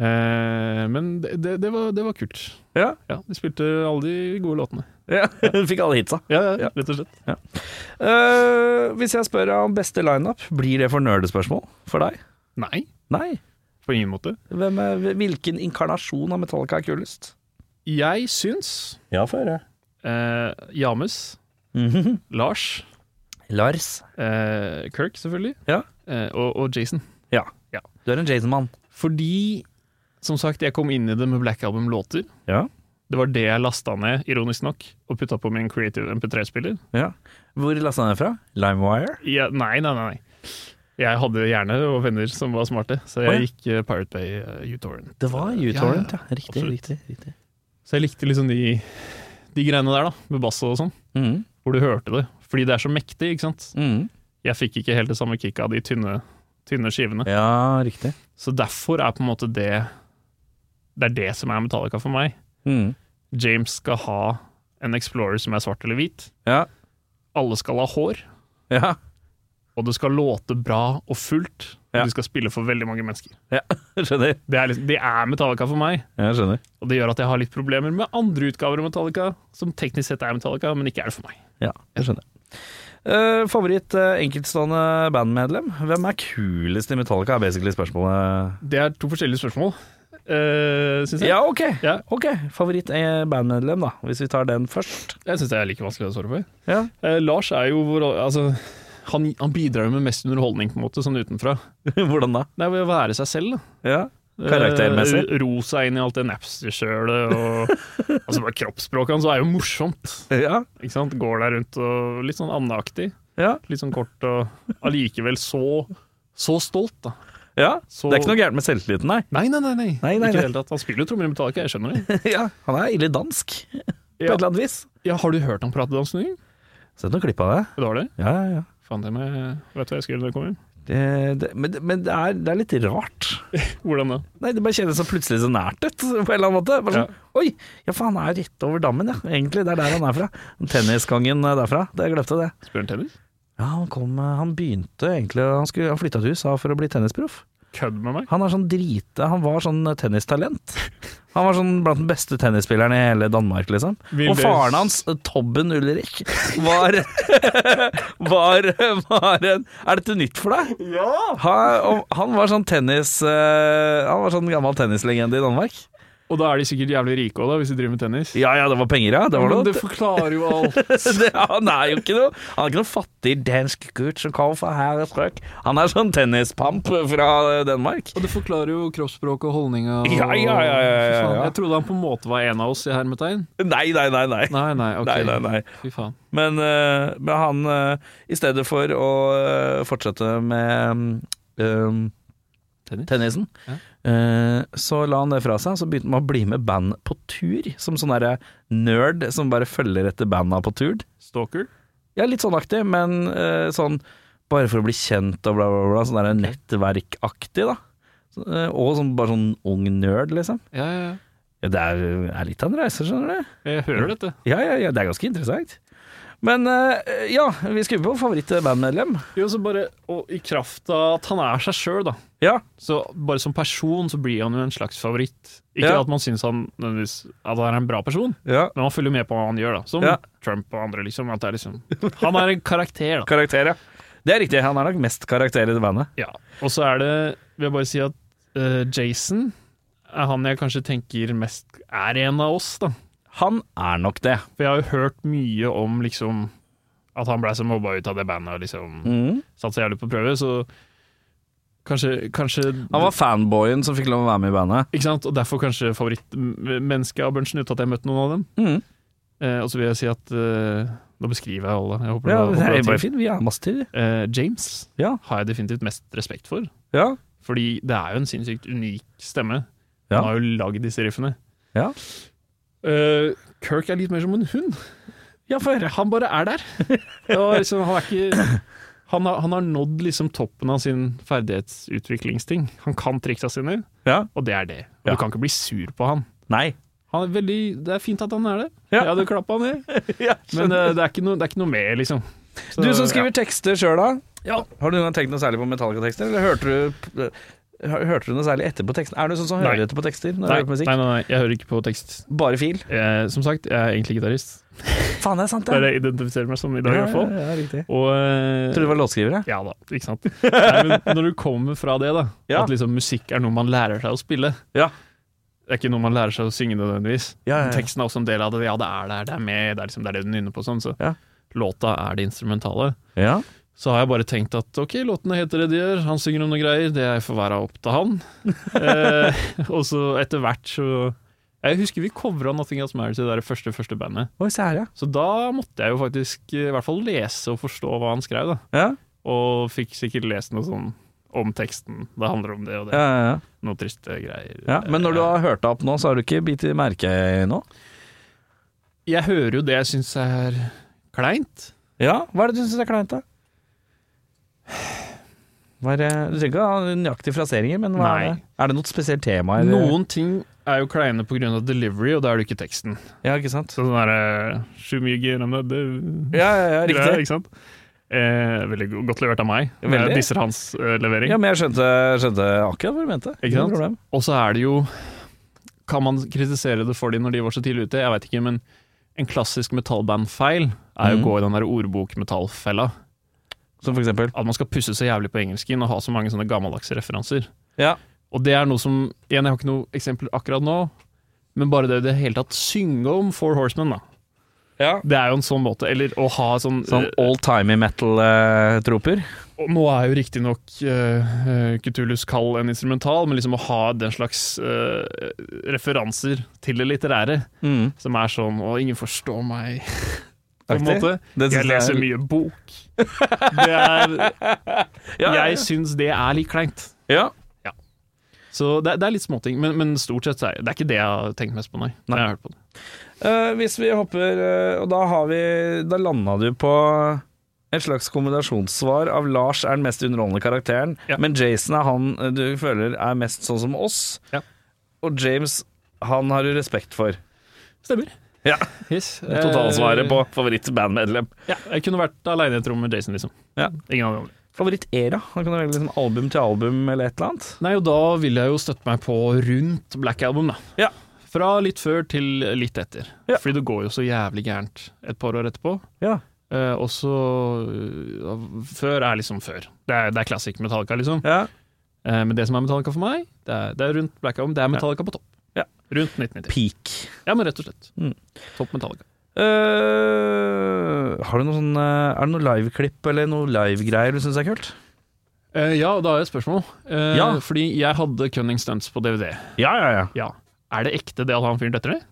Speaker 4: Eh, men det, det, det, var, det var kult.
Speaker 3: Ja.
Speaker 4: ja. De spilte alle de gode låtene.
Speaker 3: Ja. Fikk alle hitsa. ja.
Speaker 4: Rett og slett.
Speaker 3: Eh, hvis jeg spør om beste lineup, blir det for nerdespørsmål for deg?
Speaker 4: Nei,
Speaker 3: Nei.
Speaker 4: på ingen måte.
Speaker 3: Hvem er, hvilken inkarnasjon av Metallica er kulest?
Speaker 4: Jeg syns
Speaker 3: Ja, få høre.
Speaker 4: eh, James, Lars,
Speaker 3: Lars.
Speaker 4: eh, Kirk selvfølgelig,
Speaker 3: Ja.
Speaker 4: eh, og, og Jason.
Speaker 3: Ja.
Speaker 4: Ja.
Speaker 3: Du er en Jason-mann.
Speaker 4: Fordi, som sagt, jeg kom inn i det med Black Album-låter.
Speaker 3: Ja.
Speaker 4: Det var det jeg lasta ned, ironisk nok, og putta på min creative MP3-spiller.
Speaker 8: Ja. Hvor lasta han det fra? Limewire?
Speaker 4: Ja, nei, nei, nei. nei. Jeg hadde gjerne og venner som var smarte, så
Speaker 8: Å, ja.
Speaker 4: jeg gikk eh, Pirate Bay eh, U-Torrent.
Speaker 8: Det var U-Torrent, ja. Riktig,
Speaker 4: Absolutt.
Speaker 8: riktig. riktig.
Speaker 4: Så jeg likte liksom de, de greiene der, da, med bass og sånn,
Speaker 8: Mhm,
Speaker 4: hvor du hørte det. Fordi det er så mektig, ikke sant.
Speaker 8: mhm.
Speaker 4: Jeg fikk ikke helt det samme kicket av de tynne, tynne skivene.
Speaker 8: Ja, riktig.
Speaker 4: Så derfor er på en måte det Det er det som er Metallica for meg.
Speaker 8: Mhm.
Speaker 4: James skal ha en Explorer som er svart eller hvit.
Speaker 8: Ja.
Speaker 4: Alle skal ha hår,
Speaker 8: Ja.
Speaker 4: og det skal låte bra og fullt.
Speaker 8: Ja.
Speaker 4: Og de skal spille for veldig mange mennesker.
Speaker 8: ja. Skjønner.
Speaker 4: Det er, liksom, det er Metallica for meg,
Speaker 8: Jeg skjønner.
Speaker 4: og det gjør at jeg har litt problemer med andre utgaver av Metallica, som teknisk sett er Metallica, men ikke er det for meg.
Speaker 8: Ja, jeg skjønner. Eh, favoritt eh, enkeltstående bandmedlem? Hvem er kulest i Metallica, er basically spørsmålet.
Speaker 4: Det er to forskjellige spørsmål, uh, syns jeg.
Speaker 8: Ja, ok.
Speaker 4: Ja.
Speaker 8: Ok, Favoritt eh, bandmedlem, da, hvis vi tar den først.
Speaker 4: Jeg syns det er like vanskelig å svare på.
Speaker 8: Ja.
Speaker 4: Eh, Lars er jo vår Altså, han, han bidrar jo med mest underholdning, på en måte, sånn utenfra.
Speaker 8: Hvordan da?
Speaker 4: Det er ved å være seg selv, da.
Speaker 8: Ja. Karaktermessig.
Speaker 4: Eh, Ro seg inn i alt det Napster-sjølet og altså bare Kroppsspråket hans er jo morsomt.
Speaker 8: Ja.
Speaker 4: Ikke sant? Går der rundt og litt sånn andeaktig.
Speaker 8: Ja.
Speaker 4: Litt sånn kort og allikevel så, så stolt, da.
Speaker 8: ja.
Speaker 4: Så-
Speaker 8: Det er ikke noe gærent med selvtilliten, nei.
Speaker 4: Nei, nei, nei. nei.
Speaker 8: Nei, nei,
Speaker 4: ikke i det
Speaker 8: nei.
Speaker 4: hele tatt. Han spiller jo trommer i Metallica, jeg skjønner det.
Speaker 8: ja. Han er ille dansk, på et
Speaker 4: Ja.
Speaker 8: eller annet vis.
Speaker 4: Ja, har du hørt han prate dansk noen gang?
Speaker 8: Sett noen klipp av det.
Speaker 4: Du har det?
Speaker 8: Ja, ja, ja.
Speaker 4: Faen, det må jeg Vet du hva jeg skrev da jeg kom hjem?
Speaker 8: Det, Eh, det, men men det, er, det er litt rart.
Speaker 4: Hvordan da?
Speaker 8: Nei, Det bare kjennes så plutselig så nært ut, på en eller annen måte. Bare sånn, Oi! Ja, faen, han er rett over dammen, ja. Egentlig, det er der han er fra. Tenniskongen eh, derfra. Det jeg glemte det.
Speaker 4: Spør han tennis?
Speaker 8: Ja, han kom eh, Han begynte egentlig Han, skulle- han flytta til USA for å bli tennisproff.
Speaker 4: Kødd med meg?
Speaker 8: Han er sånn drite Han var sånn eh, tennistalent. Han var sånn blant den beste tennisspilleren i hele Danmark, liksom.
Speaker 4: Vil
Speaker 8: og
Speaker 4: det-
Speaker 8: faren hans, eh, Tobben Ulrik, var Var, var en Er dette nytt for deg? Ja! Han, og han var sånn tennis eh, Han var sånn gammel tennislegende i Danmark.
Speaker 4: Og da er de sikkert jævlig rike òg, da, hvis de driver med tennis.
Speaker 8: Ja ja, det var penger, ja. Det var
Speaker 4: Men
Speaker 8: noe.
Speaker 4: det forklarer jo alt.
Speaker 8: det, han er jo ikke noe Han er ikke noen fattig dansk gutt som kommer fra her og strøk. Han er sånn tennispamp fra eh, Danmark.
Speaker 4: Og det forklarer jo kroppsspråk og holdninga. og-
Speaker 8: Ja, ja, ja, ja, ja,
Speaker 4: Fy faen,
Speaker 8: ja.
Speaker 4: Jeg trodde han på en måte var en av oss i hermetegn.
Speaker 8: Nei, nei, nei. nei.
Speaker 4: Nei, nei, ok.
Speaker 8: Nei, nei, nei.
Speaker 4: Fy faen.
Speaker 8: Men, eh, men han eh, I stedet for å eh, fortsette med mm, eh,
Speaker 4: Tennis?
Speaker 8: tennisen,
Speaker 4: Ja.
Speaker 8: eh, så la han det fra seg. Så begynte han å bli med band på tur, som sånn derre nerd som bare følger etter banda på tur.
Speaker 4: Stalker?
Speaker 8: Ja, litt sånn aktig, men eh, sånn bare for å bli kjent og bla, bla, bla. Sånn der nettverkaktig, da. Så, eh, og sånn, bare sånn ung nerd, liksom.
Speaker 4: Ja, ja, ja.
Speaker 8: Ja, det er, er litt av en reise, skjønner du.
Speaker 4: Jeg hører dette.
Speaker 8: Ja, ja, ja, det er ganske interessant. Men eh, ja, vi skriver på favorittbandmedlem.
Speaker 4: Jo, så bare, og I kraft av at han er seg sjøl, da.
Speaker 8: Ja.
Speaker 4: Så bare som person så blir han jo en slags favoritt. Ikke
Speaker 8: Ja.
Speaker 4: at man syns han nødvendigvis at han er en bra person,
Speaker 8: ja.
Speaker 4: men man følger med på hva han gjør, da. Som
Speaker 8: Ja.
Speaker 4: Trump og andre, liksom. At det er liksom han er en karakter, da.
Speaker 8: Karakter, ja. Det er riktig, han er nok mest karakter i det bandet.
Speaker 4: Ja. Og så er det, vil jeg bare si at eh, Jason er han jeg kanskje tenker mest er en av oss, da.
Speaker 8: Han er nok det.
Speaker 4: For jeg har jo hørt mye om liksom at han blei så mobba ut av det bandet og liksom
Speaker 8: Mm.
Speaker 4: satt så jævlig på prøve, så kanskje, kanskje
Speaker 8: Han var fanboyen som fikk lov å være med i bandet.
Speaker 4: Ikke sant? Og derfor kanskje favorittmennesket av bunchen, uten at jeg møtte noen av dem.
Speaker 8: Mhm.
Speaker 4: Eh, og så vil jeg si at eh, Nå beskriver jeg alle. Jeg håper
Speaker 8: Ja,
Speaker 4: det,
Speaker 8: det
Speaker 4: håper
Speaker 8: er
Speaker 4: det
Speaker 8: bare
Speaker 4: til.
Speaker 8: fint. Vi er masse tid.
Speaker 4: Eh, James
Speaker 8: Ja.
Speaker 4: har jeg definitivt mest respekt for.
Speaker 8: Ja.
Speaker 4: Fordi det er jo en sinnssykt unik stemme.
Speaker 8: Ja.
Speaker 4: Han har jo lagd disse riffene.
Speaker 8: Ja.
Speaker 4: Eh, Kirk er litt mer som en hund. Ja, for han bare er der. Og liksom, han er ikke han har, han har nådd liksom toppen av sin ferdighetsutviklingsting. Han kan triksa sine,
Speaker 8: Ja.
Speaker 4: og det er det. Og
Speaker 8: Ja.
Speaker 4: Du kan ikke bli sur på han.
Speaker 8: Nei.
Speaker 4: han er veldig, det er fint at han er det.
Speaker 8: Ja.
Speaker 4: Jeg hadde klappa han ned. Men eh, det, er ikke noe, det er ikke noe mer, liksom. Så,
Speaker 8: Du som skriver
Speaker 4: ja.
Speaker 8: tekster sjøl, da. Har du noen gang tenkt noe særlig på Metallica-tekster, eller hørte du, hørte du noe særlig etterpå teksten? Er du sånn som
Speaker 4: Nei.
Speaker 8: hører etter på tekster når du
Speaker 4: Nei,
Speaker 8: hører på
Speaker 4: nei,
Speaker 8: musikk?
Speaker 4: nei, nei, jeg hører ikke på tekst.
Speaker 8: Bare fil?
Speaker 4: Eh, som sagt, jeg er egentlig gitarist.
Speaker 8: Faen, det er sant,
Speaker 4: Det er
Speaker 8: det.
Speaker 4: det jeg identifiserer meg som i
Speaker 8: Ja,
Speaker 4: dag, i
Speaker 8: ja,
Speaker 4: hvert fall.
Speaker 8: ja, riktig.
Speaker 4: Og eh,
Speaker 8: Tror du det var låtskriver, jeg.
Speaker 4: Ja da, ikke sant. Nei, men når du kommer fra det, da,
Speaker 8: Ja.
Speaker 4: at liksom musikk er noe man lærer seg å spille
Speaker 8: Ja.
Speaker 4: Det er ikke noe man lærer seg å synge nødvendigvis.
Speaker 8: Ja, ja, ja.
Speaker 4: Men Teksten er også en del av det. Ja, det er der, det er med, det er, liksom, det, er det du nynner på. Sånn, så
Speaker 8: Ja.
Speaker 4: låta er det instrumentale.
Speaker 8: Ja.
Speaker 4: Så har jeg bare tenkt at ok, låtene heter det de gjør, han synger om noen greier, det får være opp til han. eh, og så etter hvert så Jeg husker vi covra Nothing Else Matters i det der første, første bandet.
Speaker 8: Oi, se her, ja.
Speaker 4: Så da måtte jeg jo faktisk eh, i hvert fall lese og forstå hva han skrev, da.
Speaker 8: Ja,
Speaker 4: Og fikk sikkert lest noe sånn om teksten. Det handler om det og det.
Speaker 8: ja, ja, ja.
Speaker 4: Noen triste greier.
Speaker 8: ja. Men når du
Speaker 4: Eh,
Speaker 8: har hørt deg opp nå, så har du ikke bitt i merke nå?
Speaker 4: Eh, Jeg hører jo det jeg syns er kleint.
Speaker 8: Ja, hva er det du syns er kleint, da? Hva er det? Du trenger ikke ha nøyaktige fraseringer, men hva er
Speaker 4: Nei.
Speaker 8: det? Er det noe spesielt tema? eller-
Speaker 4: Noen ting er jo kleine pga. delivery, og da er det ikke teksten.
Speaker 8: Ja, ikke sant?
Speaker 4: Så sånn derre Sju mye gjennom det det-
Speaker 8: Ja, ja, ja,
Speaker 4: greier,
Speaker 8: riktig.
Speaker 4: Ikke sant? Eh, veldig go- godt levert av meg. når
Speaker 8: Veldig.
Speaker 4: Jeg disser hans eh, levering.
Speaker 8: Ja, men jeg skjønte, skjønte akkurat hva du mente.
Speaker 4: Ikke
Speaker 8: Ingen
Speaker 4: sant?
Speaker 8: problem.
Speaker 4: Og så er det jo Kan man kritisere det for de når de var så tidlig ute? Jeg veit ikke, men en klassisk metallbandfeil er jo å
Speaker 8: Mhm.
Speaker 4: gå i den der ordbokmetallfella.
Speaker 8: Som for eksempel.
Speaker 4: At man skal pusse så jævlig på engelsken og ha så mange sånne gammeldagse referanser.
Speaker 8: Ja.
Speaker 4: Og det er noe som Igjen, jeg har ikke noe eksempel akkurat nå, men bare det i det hele tatt synge om Four Horsemen, da.
Speaker 8: Ja.
Speaker 4: Det er jo en sånn måte. Eller å ha sånn,
Speaker 8: Sånn all-timey eh, metal-troper.
Speaker 4: Og nå er jo riktignok uh, Kutulus kall en instrumental, men liksom å ha den slags eh, referanser til det litterære,
Speaker 8: Mm.
Speaker 4: som er sånn Og ingen forstår meg, på en
Speaker 8: Aktig.
Speaker 4: måte.
Speaker 8: Det synes
Speaker 4: Jeg
Speaker 8: jeg er-
Speaker 4: leser mye bok. Det er,
Speaker 8: Ja, ja, ja.
Speaker 4: jeg syns det er litt kleint.
Speaker 8: Ja.
Speaker 4: Så det, det er litt småting, men, men stort sett så er det er ikke det jeg har tenkt mest på, nei. Det har Jeg har hørt på det.
Speaker 8: Eh, hvis vi hopper eh, Og da har vi Da landa du på et slags kombinasjonssvar av Lars er den mest underholdende karakteren,
Speaker 4: Ja.
Speaker 8: men Jason er han eh, du føler er mest sånn som oss.
Speaker 4: Ja.
Speaker 8: Og James, han har du respekt for.
Speaker 4: Stemmer.
Speaker 8: Ja.
Speaker 4: Yes.
Speaker 8: Totalsvaret
Speaker 4: Eh,
Speaker 8: på favorittbandmedlem.
Speaker 4: Ja, jeg kunne vært aleine i et rom med Jason, liksom.
Speaker 8: Ja.
Speaker 4: Ingen av de andre.
Speaker 8: Favorittera. Han kan velge liksom album til album eller et eller annet.
Speaker 4: Nei, og da vil jeg jo støtte meg på rundt Black Album, da.
Speaker 8: Ja.
Speaker 4: Fra litt før til litt etter.
Speaker 8: Ja.
Speaker 4: Fordi det går jo så jævlig gærent et par år etterpå.
Speaker 8: Ja.
Speaker 4: Eh, og så eh, Før er liksom før. Det er, det er klassisk Metallica, liksom.
Speaker 8: Ja.
Speaker 4: Eh, men det som er Metallica for meg, det er, det er rundt Black Album. Det er Metallica på topp.
Speaker 8: Ja.
Speaker 4: Rundt 1990.
Speaker 8: Peak.
Speaker 4: Ja, men rett og slett.
Speaker 8: Mm.
Speaker 4: Topp Metallica.
Speaker 8: Eh, har du noe sånn eh, Er det noe liveklipp eller noe livegreier du syns er kult?
Speaker 4: Eh, ja, og da har jeg et spørsmål. Eh,
Speaker 8: Ja.
Speaker 4: Fordi jeg hadde Cunning Stunts på DVD.
Speaker 8: Ja, ja, ja.
Speaker 4: Ja. Er det ekte det at han fyren detter ned?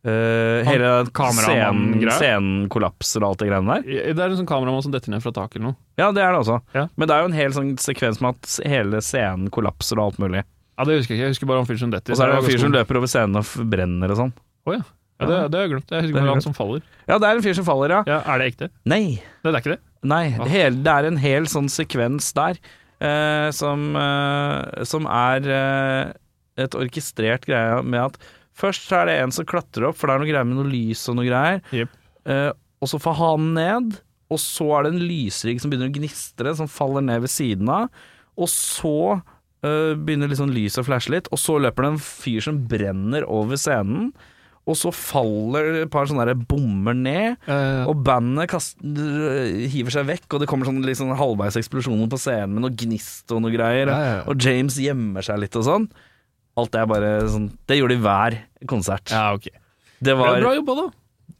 Speaker 8: Eh, hele
Speaker 4: kameramannen-
Speaker 8: scenen, scenen kollapser og alt det greiene der.
Speaker 4: Det er en sånn kameramann som detter ned fra taket eller noe.
Speaker 8: Ja, det er det også.
Speaker 4: Ja.
Speaker 8: Men det er jo en hel sånn sekvens med at hele scenen kollapser og alt mulig.
Speaker 4: Ja, Det husker jeg ikke. Jeg husker bare han fyren som detter.
Speaker 8: Og så er det en fyr som
Speaker 4: ganske-
Speaker 8: løper over scenen og f- brenner og sånn.
Speaker 4: Å ja. ja det, det har jeg glemt.
Speaker 8: Det har
Speaker 4: Jeg husker
Speaker 8: jeg
Speaker 4: bare han
Speaker 8: glemt.
Speaker 4: som faller.
Speaker 8: Ja, det er en fyr som faller, ja.
Speaker 4: Ja, Er det ekte?
Speaker 8: Nei.
Speaker 4: Nei, det er ikke det.
Speaker 8: Nei.
Speaker 4: Ah.
Speaker 8: Hele, det er en hel sånn sekvens der eh, som, eh, som er eh, et orkestrert greie med at først så er det en som klatrer opp, for det er noe greier med noe lys og noe greier.
Speaker 4: Jep.
Speaker 8: Eh, og så får han ned, og så er det en lysrigg som begynner å gnistre, som faller ned ved siden av. Og så eh, begynner liksom lyset å flashe litt, og så løper det en fyr som brenner over scenen. Og så faller et par sånne der bommer ned, og bandet kaster, hiver seg vekk, og det kommer sånn liksom halvveis eksplosjoner på scenen med noe gnist og noe greier.
Speaker 4: Ja, ja, ja.
Speaker 8: Og James gjemmer seg litt og sånn. Alt det er bare sånn Det gjorde de hver konsert.
Speaker 4: Ja, ok. Det
Speaker 8: Det
Speaker 4: er
Speaker 8: var
Speaker 4: bra jobba, da.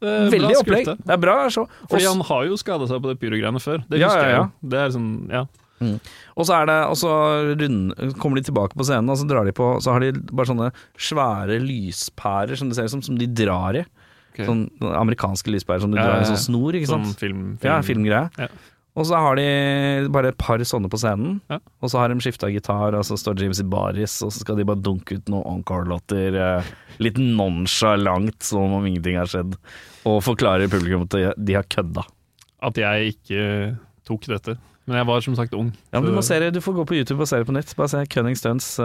Speaker 4: Eh,
Speaker 8: veldig
Speaker 4: bra
Speaker 8: opplegg.
Speaker 4: skulte.
Speaker 8: Det er bra show.
Speaker 4: Fordi
Speaker 8: Også-
Speaker 4: han har jo skada seg på det pyrogreiene før. Det
Speaker 8: Ja,
Speaker 4: husker
Speaker 8: ja, ja.
Speaker 4: jeg jo. Det er sånn, ja.
Speaker 8: Og så, er det, og så rund, kommer de tilbake på scenen, og så drar de på Så har de bare sånne svære lyspærer som det ser ut som, som de drar i.
Speaker 4: Ok.
Speaker 8: Sånn amerikanske lyspærer som de
Speaker 4: Ja,
Speaker 8: drar i
Speaker 4: ja, ja.
Speaker 8: sånn snor, ikke
Speaker 4: Sånn
Speaker 8: sant.
Speaker 4: film, film.
Speaker 8: Ja, filmgreie.
Speaker 4: Ja.
Speaker 8: Og så har de bare et par sånne på scenen,
Speaker 4: Ja.
Speaker 8: og så har de skifta gitar, og så står James i baris, og så skal de bare dunke ut noen encore-låter eh, litt nonchalant, som om ingenting har skjedd, og forklarer publikum at de- de har kødda.
Speaker 4: At jeg ikke tok dette. Men jeg var som sagt ung.
Speaker 8: Ja, men du, må
Speaker 4: så-
Speaker 8: se det. du får gå på YouTube og se det på nytt. Bare se Cunning Stunts eh,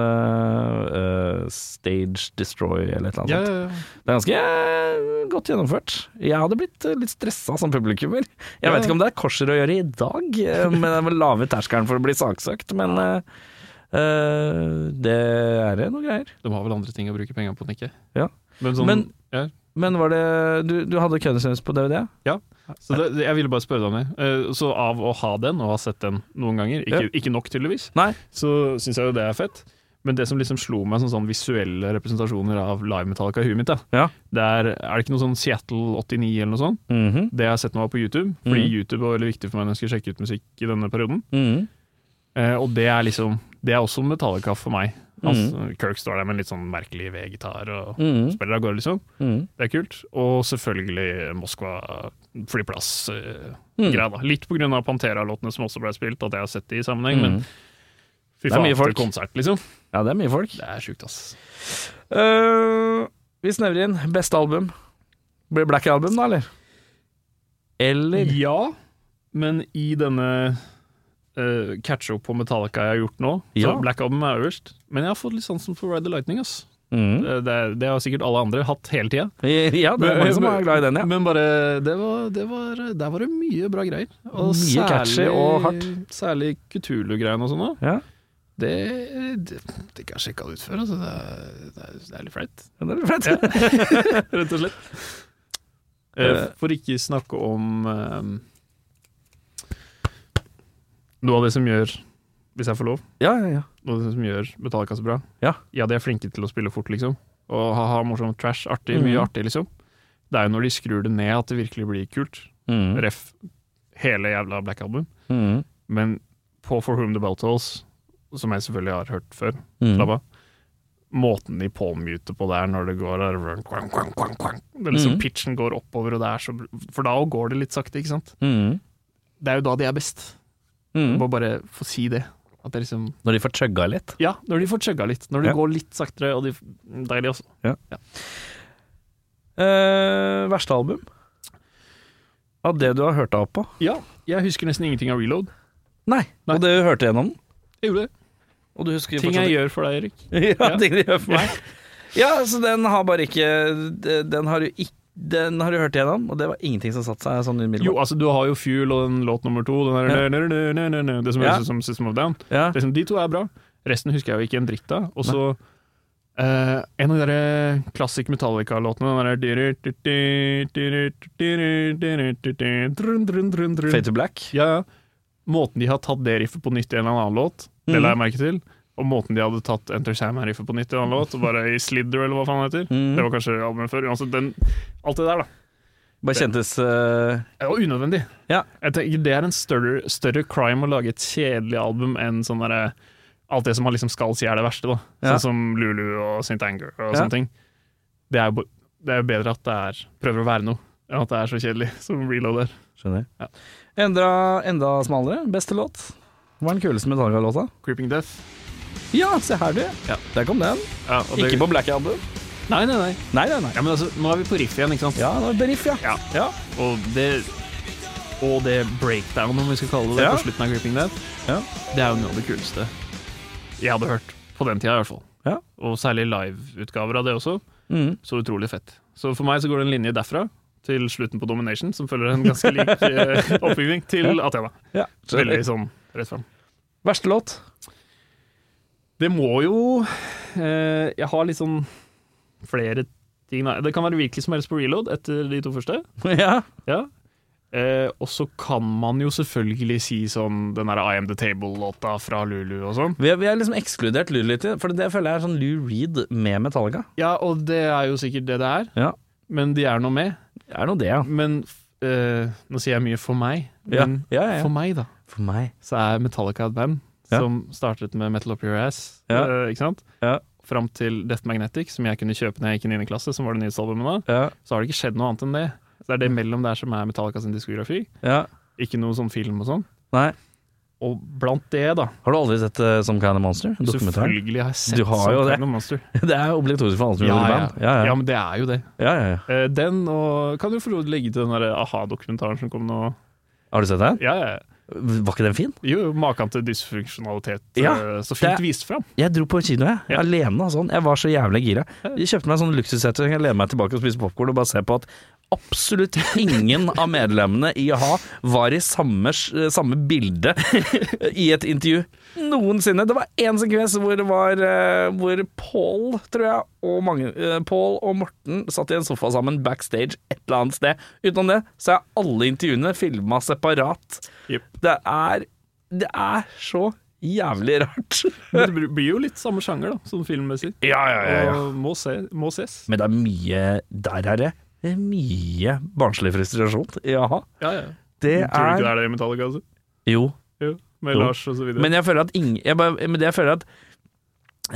Speaker 8: eh, Stage Destroy eller et eller annet.
Speaker 4: Ja,
Speaker 8: sånt.
Speaker 4: ja, ja.
Speaker 8: Det er ganske eh, godt gjennomført. Jeg hadde blitt eh, litt stressa som publikummer. Jeg
Speaker 4: Ja.
Speaker 8: vet ikke om det er korser å gjøre i dag, eh, med den lave terskelen for å bli saksøkt, men eh, eh, det er noe greier.
Speaker 4: De har vel andre ting å bruke penger på enn ikke.
Speaker 8: Ja.
Speaker 4: Men sånn,
Speaker 8: Men-
Speaker 4: ja.
Speaker 8: Men var det Du, du hadde Cunning Stunts på DVD?
Speaker 4: Så det, det- jeg ville bare spørre deg om det. Eh, Så av å ha den, og ha sett den noen ganger, ikke, ikke nok tydeligvis,
Speaker 8: Nei.
Speaker 4: så syns jeg jo det er fett. Men det som liksom slo meg som sånn visuelle representasjoner av live Metallica i huet mitt, da,
Speaker 8: Ja.
Speaker 4: det er, er det ikke noe sånn Seattle 89 eller noe sånt?
Speaker 8: Mhm.
Speaker 4: Det jeg har sett nå på YouTube, fordi
Speaker 8: Mhm.
Speaker 4: YouTube var veldig viktig for meg når jeg skulle sjekke ut musikk i denne perioden. Eh, og det er liksom Det er også Metallica for meg.
Speaker 8: Mm.
Speaker 4: Altså, Kirk står der med en litt sånn merkelig V-gitar og
Speaker 8: Mm.
Speaker 4: spiller av gårde, liksom. Det er kult. Og selvfølgelig Moskva
Speaker 8: Mm.
Speaker 4: flyplass-greia, da. Litt på grunn av Pantera-låtene som også ble spilt, at jeg har sett de i sammenheng, men fy
Speaker 8: Mm. Det er
Speaker 4: faen,
Speaker 8: mye
Speaker 4: for
Speaker 8: folk.
Speaker 4: konsert, liksom.
Speaker 8: Ja, det er mye folk.
Speaker 4: Det er sjukt, ass.
Speaker 8: Eh, vi snevrer inn. Beste album. Blir Black Album, da, eller? Eller
Speaker 4: Ja, men i denne eh, catch-up på Metallica jeg har gjort nå, så
Speaker 8: Ja.
Speaker 4: Black Album er øverst. Men jeg har fått litt sansen for Ride the Lightning, ass.
Speaker 8: Mhm.
Speaker 4: Eh, Det, det, det har sikkert alle andre hatt hele tida.
Speaker 8: Ja, det er mange som er glad i den, ja.
Speaker 4: Men bare det var, det var, Der var det mye bra greier. Og
Speaker 8: Mye catchy og hardt.
Speaker 4: Særlig Kutulu-greiene og sånn òg.
Speaker 8: ja.
Speaker 4: Det, det, det kan jeg sjekka ut før, altså. Det er, det er, det er litt flaut,
Speaker 8: Det er litt fett.
Speaker 4: rett og slett. Eh, For ikke snakke om eh, Noe av det som gjør Hvis jeg får lov,
Speaker 8: Ja, ja, ja.
Speaker 4: noe av det som gjør Metallica så bra.
Speaker 8: Ja.
Speaker 4: de er flinke til å spille fort, liksom. Og ha-ha, morsom trash. Artig. Mye
Speaker 8: Mhm.
Speaker 4: artig, liksom. Det er jo når de skrur det ned at det virkelig blir kult. Ref hele jævla Black Album.
Speaker 8: Mhm.
Speaker 4: Men på For Whom The Bell Tolls, som jeg selvfølgelig har hørt før,
Speaker 8: Mhm.
Speaker 4: slapp av, måten de påmuter på der når det går er run, kvang, kvang, kvang, kvang. Det er liksom
Speaker 8: Mhm.
Speaker 4: Pitchen går oppover, og det er så For da går det litt sakte, ikke sant?
Speaker 8: Mhm.
Speaker 4: Det er jo da de er best.
Speaker 8: Mhm.
Speaker 4: Jeg Må bare få si det. At det er liksom
Speaker 8: Når de får chugga litt.
Speaker 4: Ja, når de får chugga litt. Når det
Speaker 8: Ja.
Speaker 4: går litt saktere, og de Deilig også.
Speaker 8: Eh, verste album? Av det du har hørt av på?
Speaker 4: Ja, jeg husker nesten ingenting av Reload.
Speaker 8: Nei. Og det hørte jeg gjennom den?
Speaker 4: Jeg gjorde det.
Speaker 8: Og du husker
Speaker 4: Ting jeg gjør for deg, Erik.
Speaker 8: ja,
Speaker 4: Ja.
Speaker 8: ting de gjør for meg. Ja, så den har bare ikke Den har du ikke den har du hørt igjennom, og det var ingenting som satte seg sånn
Speaker 4: Jo,
Speaker 8: umiddelbart.
Speaker 4: altså Du har jo Fuel og den låt nummer to, den der,
Speaker 8: Ja.
Speaker 4: nø, nø, nø, nø, nø, det som
Speaker 8: Ja.
Speaker 4: høres ut som System of Down.
Speaker 8: Ja.
Speaker 4: Det som, de to er bra. Resten husker jeg jo ikke en dritt av. Og så eh, en av de der klassik Metallica-låtene, den derre
Speaker 8: Fade to Black.
Speaker 4: Ja, ja. Måten de har tatt det riffet på nytt i en eller annen låt,
Speaker 8: Mhm.
Speaker 4: det la jeg merke til. Og måten de hadde tatt Enter Sam-riffet på nytt i en annen låt, og bare i Slither, eller hva faen det heter.
Speaker 8: Mhm.
Speaker 4: Det var kanskje albumet før. Uansett, den, alt det der, da.
Speaker 8: Bare kjentes eh,
Speaker 4: Ja, Og unødvendig.
Speaker 8: Ja.
Speaker 4: Jeg tenker, det er en større, større crime å lage et kjedelig album enn sånn derre Alt det som man liksom skal si er det verste, da.
Speaker 8: Ja.
Speaker 4: Sånn som Lulu og St. Anger og
Speaker 8: Ja.
Speaker 4: sånne ting. Det er jo bo- det er jo bedre at det er prøver å være noe, enn at det er så kjedelig som Reload er.
Speaker 8: Skjønner.
Speaker 4: Ja.
Speaker 8: Enda, enda smalere. Beste låt? Hva er den kuleste Metallica-låta?
Speaker 4: Creeping Death.
Speaker 8: Ja, se her, du.
Speaker 4: Ja.
Speaker 8: Der kom den.
Speaker 4: Ja, og det-
Speaker 8: Ikke på Black Album.
Speaker 4: Nei, nei, nei.
Speaker 8: Nei, nei, nei.
Speaker 4: Ja, men altså, nå er vi på riff igjen, ikke sant?
Speaker 8: Ja, det var Beriff, ja.
Speaker 4: Ja.
Speaker 8: Ja.
Speaker 4: Og det Og det breakdown, om vi skal kalle det det,
Speaker 8: Ja.
Speaker 4: på slutten av Creeping Death,
Speaker 8: Ja.
Speaker 4: det er jo noe av det kuleste jeg hadde hørt. På den tida, i hvert fall.
Speaker 8: Ja.
Speaker 4: Og særlig liveutgaver av det også.
Speaker 8: Mhm.
Speaker 4: Så utrolig fett. Så for meg så går det en linje derfra til slutten på Domination, som følger en ganske lik eh, oppbygging, til Athena.
Speaker 8: ja.
Speaker 4: Veldig sånn rett fram.
Speaker 8: Verste låt?
Speaker 4: Det må jo eh, Jeg har litt sånn flere ting da. Det kan være hvilken som helst på reload etter de to første.
Speaker 8: ja.
Speaker 4: Ja. Eh, og så kan man jo selvfølgelig si sånn den der I Am The Table-låta fra Lulu og sånn.
Speaker 8: Vi har, vi har liksom ekskludert Lou litt, for det føler jeg er sånn Lou Reed med Metallica.
Speaker 4: Ja, og det er jo sikkert det det er,
Speaker 8: Ja.
Speaker 4: men de er nå med.
Speaker 8: Det er nå det, ja.
Speaker 4: Men f- eh, nå sier jeg mye for meg,
Speaker 8: Ja,
Speaker 4: men
Speaker 8: ja, ja.
Speaker 4: for meg, da,
Speaker 8: For meg.
Speaker 4: så er Metallica et band
Speaker 8: Ja.
Speaker 4: som startet med Metal Up Your Ass,
Speaker 8: Ja.
Speaker 4: eh, ikke sant?
Speaker 8: Ja.
Speaker 4: Fram til Death Magnetic, som jeg kunne kjøpe når jeg gikk i 9. klasse, som var det nyeste albumet da.
Speaker 8: Ja, Mm.
Speaker 4: Så har det ikke skjedd noe annet enn det. Så det er det mellom der som er Metallica sin diskografi,
Speaker 8: ja.
Speaker 4: ikke noe sånn film og sånn.
Speaker 8: Nei.
Speaker 4: Og blant det, da,
Speaker 8: Har du aldri sett eh, Some Kind of Monster? Dokumentaren?
Speaker 4: Selvfølgelig har jeg sett
Speaker 8: Du har
Speaker 4: Some
Speaker 8: jo det.
Speaker 4: Kind of Monster.
Speaker 8: Det er jo obligatorisk for alle som gjør band. Ja, ja.
Speaker 4: men det er jo det.
Speaker 8: ja, ja, ja.
Speaker 4: Eh, Den og Kan du få lov til å legge til den der a-ha-dokumentaren som kom nå?
Speaker 8: Har du sett den?
Speaker 4: Ja, ja. ja.
Speaker 8: Var ikke den fin?
Speaker 4: Jo, maken til dysfunksjonalitet.
Speaker 8: Ja,
Speaker 4: eh, så fint
Speaker 8: det-
Speaker 4: vist fram.
Speaker 8: Jeg dro på kino, jeg.
Speaker 4: Ja.
Speaker 8: Alene og sånn. Jeg var så jævlig gira. Jeg kjøpte meg en sånn luksussete så jeg kan lene meg tilbake og spise popkorn og bare se på at absolutt ingen av medlemmene i a-ha var i samme, samme bilde i et intervju noensinne. Det var én sekvens hvor det var eh, hvor Paul, tror jeg, og mange eh, Paul og Morten satt i en sofa sammen backstage et eller annet sted. Utenom det så er alle intervjuene filma separat.
Speaker 4: Jep.
Speaker 8: Det er Det er så jævlig rart.
Speaker 4: Men det blir jo litt samme sjanger, da, sånn filmmessig.
Speaker 8: Ja,
Speaker 4: Og må, se, må ses.
Speaker 8: Men det er mye Der er det det er mye barnslig frustrasjon. Jaha.
Speaker 4: Ja, ja.
Speaker 8: Det
Speaker 4: Tror du
Speaker 8: er
Speaker 4: ikke det er det i Metallica, altså?
Speaker 8: Jo.
Speaker 4: Jo, med
Speaker 8: Jo.
Speaker 4: Lars og så videre.
Speaker 8: Men jeg føler at ingen jeg bare, Men det jeg føler at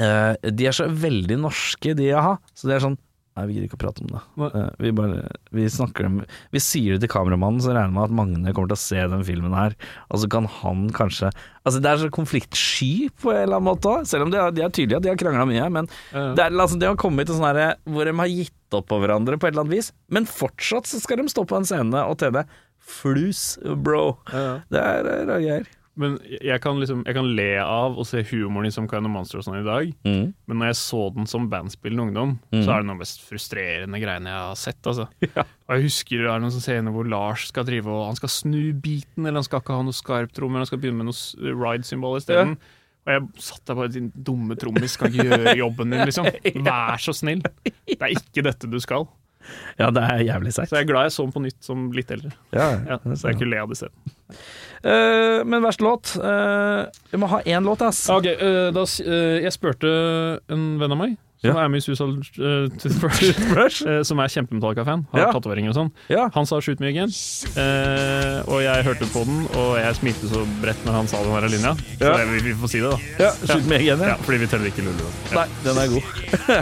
Speaker 3: Eh, de er så veldig norske, de a-ha. Så det er sånn Nei, vi gidder ikke å prate om det.
Speaker 4: Nei.
Speaker 3: Eh, vi bare Vi snakker dem Vi sier det til kameramannen, så regner jeg med at Magne kommer til å se den filmen her. Og så kan han kanskje Altså, det er så konfliktsky på en eller annen måte også, Selv om de er, de er tydelige at de har krangla mye, men
Speaker 4: Ja.
Speaker 3: det er altså Det å komme til sånn herre hvor de har gitt opp på hverandre på et eller annet vis, men fortsatt så skal de stå på en scene og tene flus, bro. Det er eh, rare greier.
Speaker 4: Men jeg kan, liksom, jeg kan le av å se humoren i Some Kind of Monster og sånn i dag,
Speaker 3: Mm.
Speaker 4: men når jeg så den som bandspillende ungdom, så er det noe av de mest frustrerende greiene jeg har sett. Altså. Og jeg husker det er noen sånne scener hvor Lars skal drive og han skal snu biten, eller han skal ikke ha noe skarpt rom, eller han skal begynne med noe s- ride-symbol isteden. Og jeg satt der bare din dumme trommis, kan ikke gjøre jobben din, liksom. Vær så snill. Det er ikke dette du skal.
Speaker 3: Ja, det er jævlig seigt.
Speaker 4: Så jeg er glad jeg så den på nytt som litt eldre.
Speaker 3: Ja,
Speaker 4: Ja, så jeg kunne le av det isteden.
Speaker 3: Eh, men verst låt eh, Vi må ha én låt, ass.
Speaker 4: Ok, eh, da, s- eh, jeg spurte en venn av meg, som er med i Suicide eh, Toothbrush,
Speaker 3: Rush?
Speaker 4: eh, som er kjempemetallica-fan, har
Speaker 3: Ja.
Speaker 4: tatoveringer og sånn.
Speaker 3: Ja.
Speaker 4: Han sa 'shoot me again', eh, og jeg hørte på den, og jeg smilte så bredt når han sa den der linja. Så
Speaker 3: Ja.
Speaker 4: jeg, vi, vi får si det, da.
Speaker 3: ja Slutt med igjen, ja.
Speaker 4: Ja, fordi vi teller ikke lullu.
Speaker 3: Nei, den er god.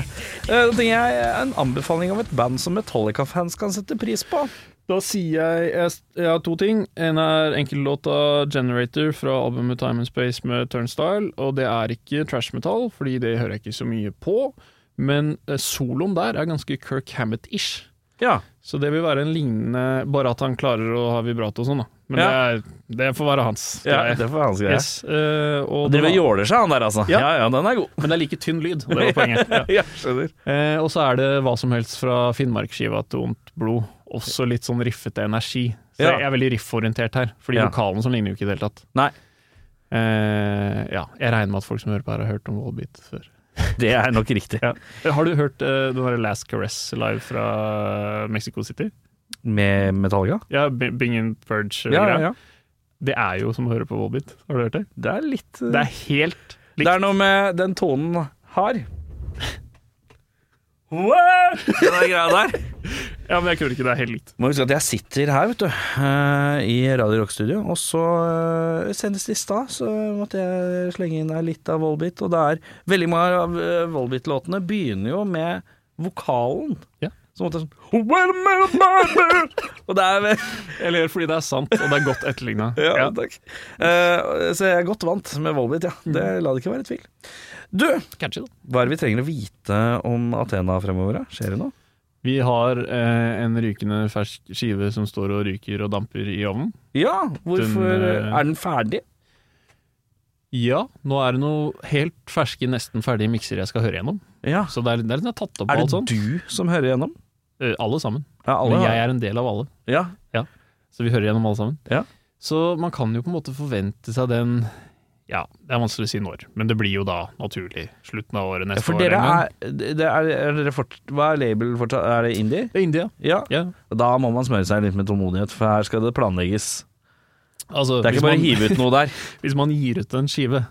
Speaker 3: Eh, Da tenker jeg En anbefaling av et band som Metallica-fans kan sette pris på.
Speaker 4: Da sier jeg jeg, jeg har to ting. En er enkellåta 'Generator' fra albumet Time and Space med Turnstyle. Og det er ikke trash metal, fordi det hører jeg ikke så mye på. Men eh, soloen der er ganske Kirk Hammett-ish.
Speaker 3: Ja.
Speaker 4: Så det vil være en lignende Bare at han klarer å ha vibrato og sånn, da. Men
Speaker 3: Ja.
Speaker 4: det, er, det får være hans
Speaker 3: ja
Speaker 4: greie.
Speaker 3: det får være hans greie.
Speaker 4: yes. eh, og
Speaker 3: Driver
Speaker 4: den-
Speaker 3: og jåler seg, han der, altså.
Speaker 4: Ja.
Speaker 3: Ja, ja, den er god.
Speaker 4: men det er like tynn lyd, og det var poenget. Ja.
Speaker 3: Ja, skjønner.
Speaker 4: Eh, og så er det hva som helst fra Finnmarksskiva til Ondt blod. Også litt sånn riffete energi. Så
Speaker 3: Ja.
Speaker 4: jeg er veldig rifforientert her, fordi
Speaker 3: Ja.
Speaker 4: vokalen som ligner jo ikke i det hele tatt.
Speaker 3: Nei.
Speaker 4: Eh, ja, jeg regner med at folk som hører på her, har hørt om Wallbeat før.
Speaker 3: Det er nok riktig.
Speaker 4: Eh, Har du hørt eh, den derre Last Caress live fra eh, Mexico City?
Speaker 3: Med Metallica?
Speaker 4: Ja, B- Bing and Purge.
Speaker 3: Ja, ja,
Speaker 4: greia.
Speaker 3: ja.
Speaker 4: Det er jo som å høre på Wallbeat. Har du hørt det?
Speaker 3: Det er litt eh,
Speaker 4: Det er helt likt.
Speaker 3: det er noe med den tonen har. Wow! Den greia der.
Speaker 4: Ja, men jeg kødder ikke, det er helt likt.
Speaker 3: Må huske at jeg sitter her, vet du, eh, i Radio Rock-studio, og så eh, senest i stad så måtte jeg slenge inn her litt av Volbit, og det er veldig mange av eh, Volbit-låtene begynner jo med vokalen.
Speaker 4: Ja.
Speaker 3: Så måtte jeg sånn Well, my baby! Og det er vel
Speaker 4: Eller fordi det er sant, og det er godt etterligna.
Speaker 3: ja, takk. Eh, så jeg er godt vant med Volbit, ja. Det la det ikke være tvil. Du,
Speaker 4: Catchy, da.
Speaker 3: hva er det vi trenger å vite om Athena fremover? da? Skjer det noe?
Speaker 4: Vi har eh, en rykende fersk skive som står og ryker og damper i ovnen.
Speaker 3: Ja, hvorfor
Speaker 4: Den, eh,
Speaker 3: Er den ferdig?
Speaker 4: Ja, nå er det noe helt ferske, nesten ferdige mikser jeg skal høre gjennom.
Speaker 3: Ja.
Speaker 4: Så det er, det er litt sånn tatt opp på
Speaker 3: Er
Speaker 4: alt
Speaker 3: det
Speaker 4: sånt.
Speaker 3: du som hører gjennom?
Speaker 4: Eh, alle sammen.
Speaker 3: Ja,
Speaker 4: Men
Speaker 3: ja.
Speaker 4: jeg er en del av alle,
Speaker 3: Ja,
Speaker 4: så vi hører gjennom alle sammen.
Speaker 3: Ja.
Speaker 4: Så man kan jo på en måte forvente seg den Ja, det er vanskelig å si når, men det blir jo da naturlig slutten av året neste
Speaker 3: for
Speaker 4: år.
Speaker 3: dere
Speaker 4: en gang.
Speaker 3: er, det er, er dere fort, Hva er label fortsatt? Er det indie?
Speaker 4: Det er India.
Speaker 3: Ja.
Speaker 4: Ja.
Speaker 3: Da må man smøre seg litt med tålmodighet, for her skal det planlegges.
Speaker 4: Altså,
Speaker 3: Det
Speaker 4: hvis
Speaker 3: er ikke bare å
Speaker 4: man-
Speaker 3: hive ut noe der.
Speaker 4: Hvis man gir ut en skive,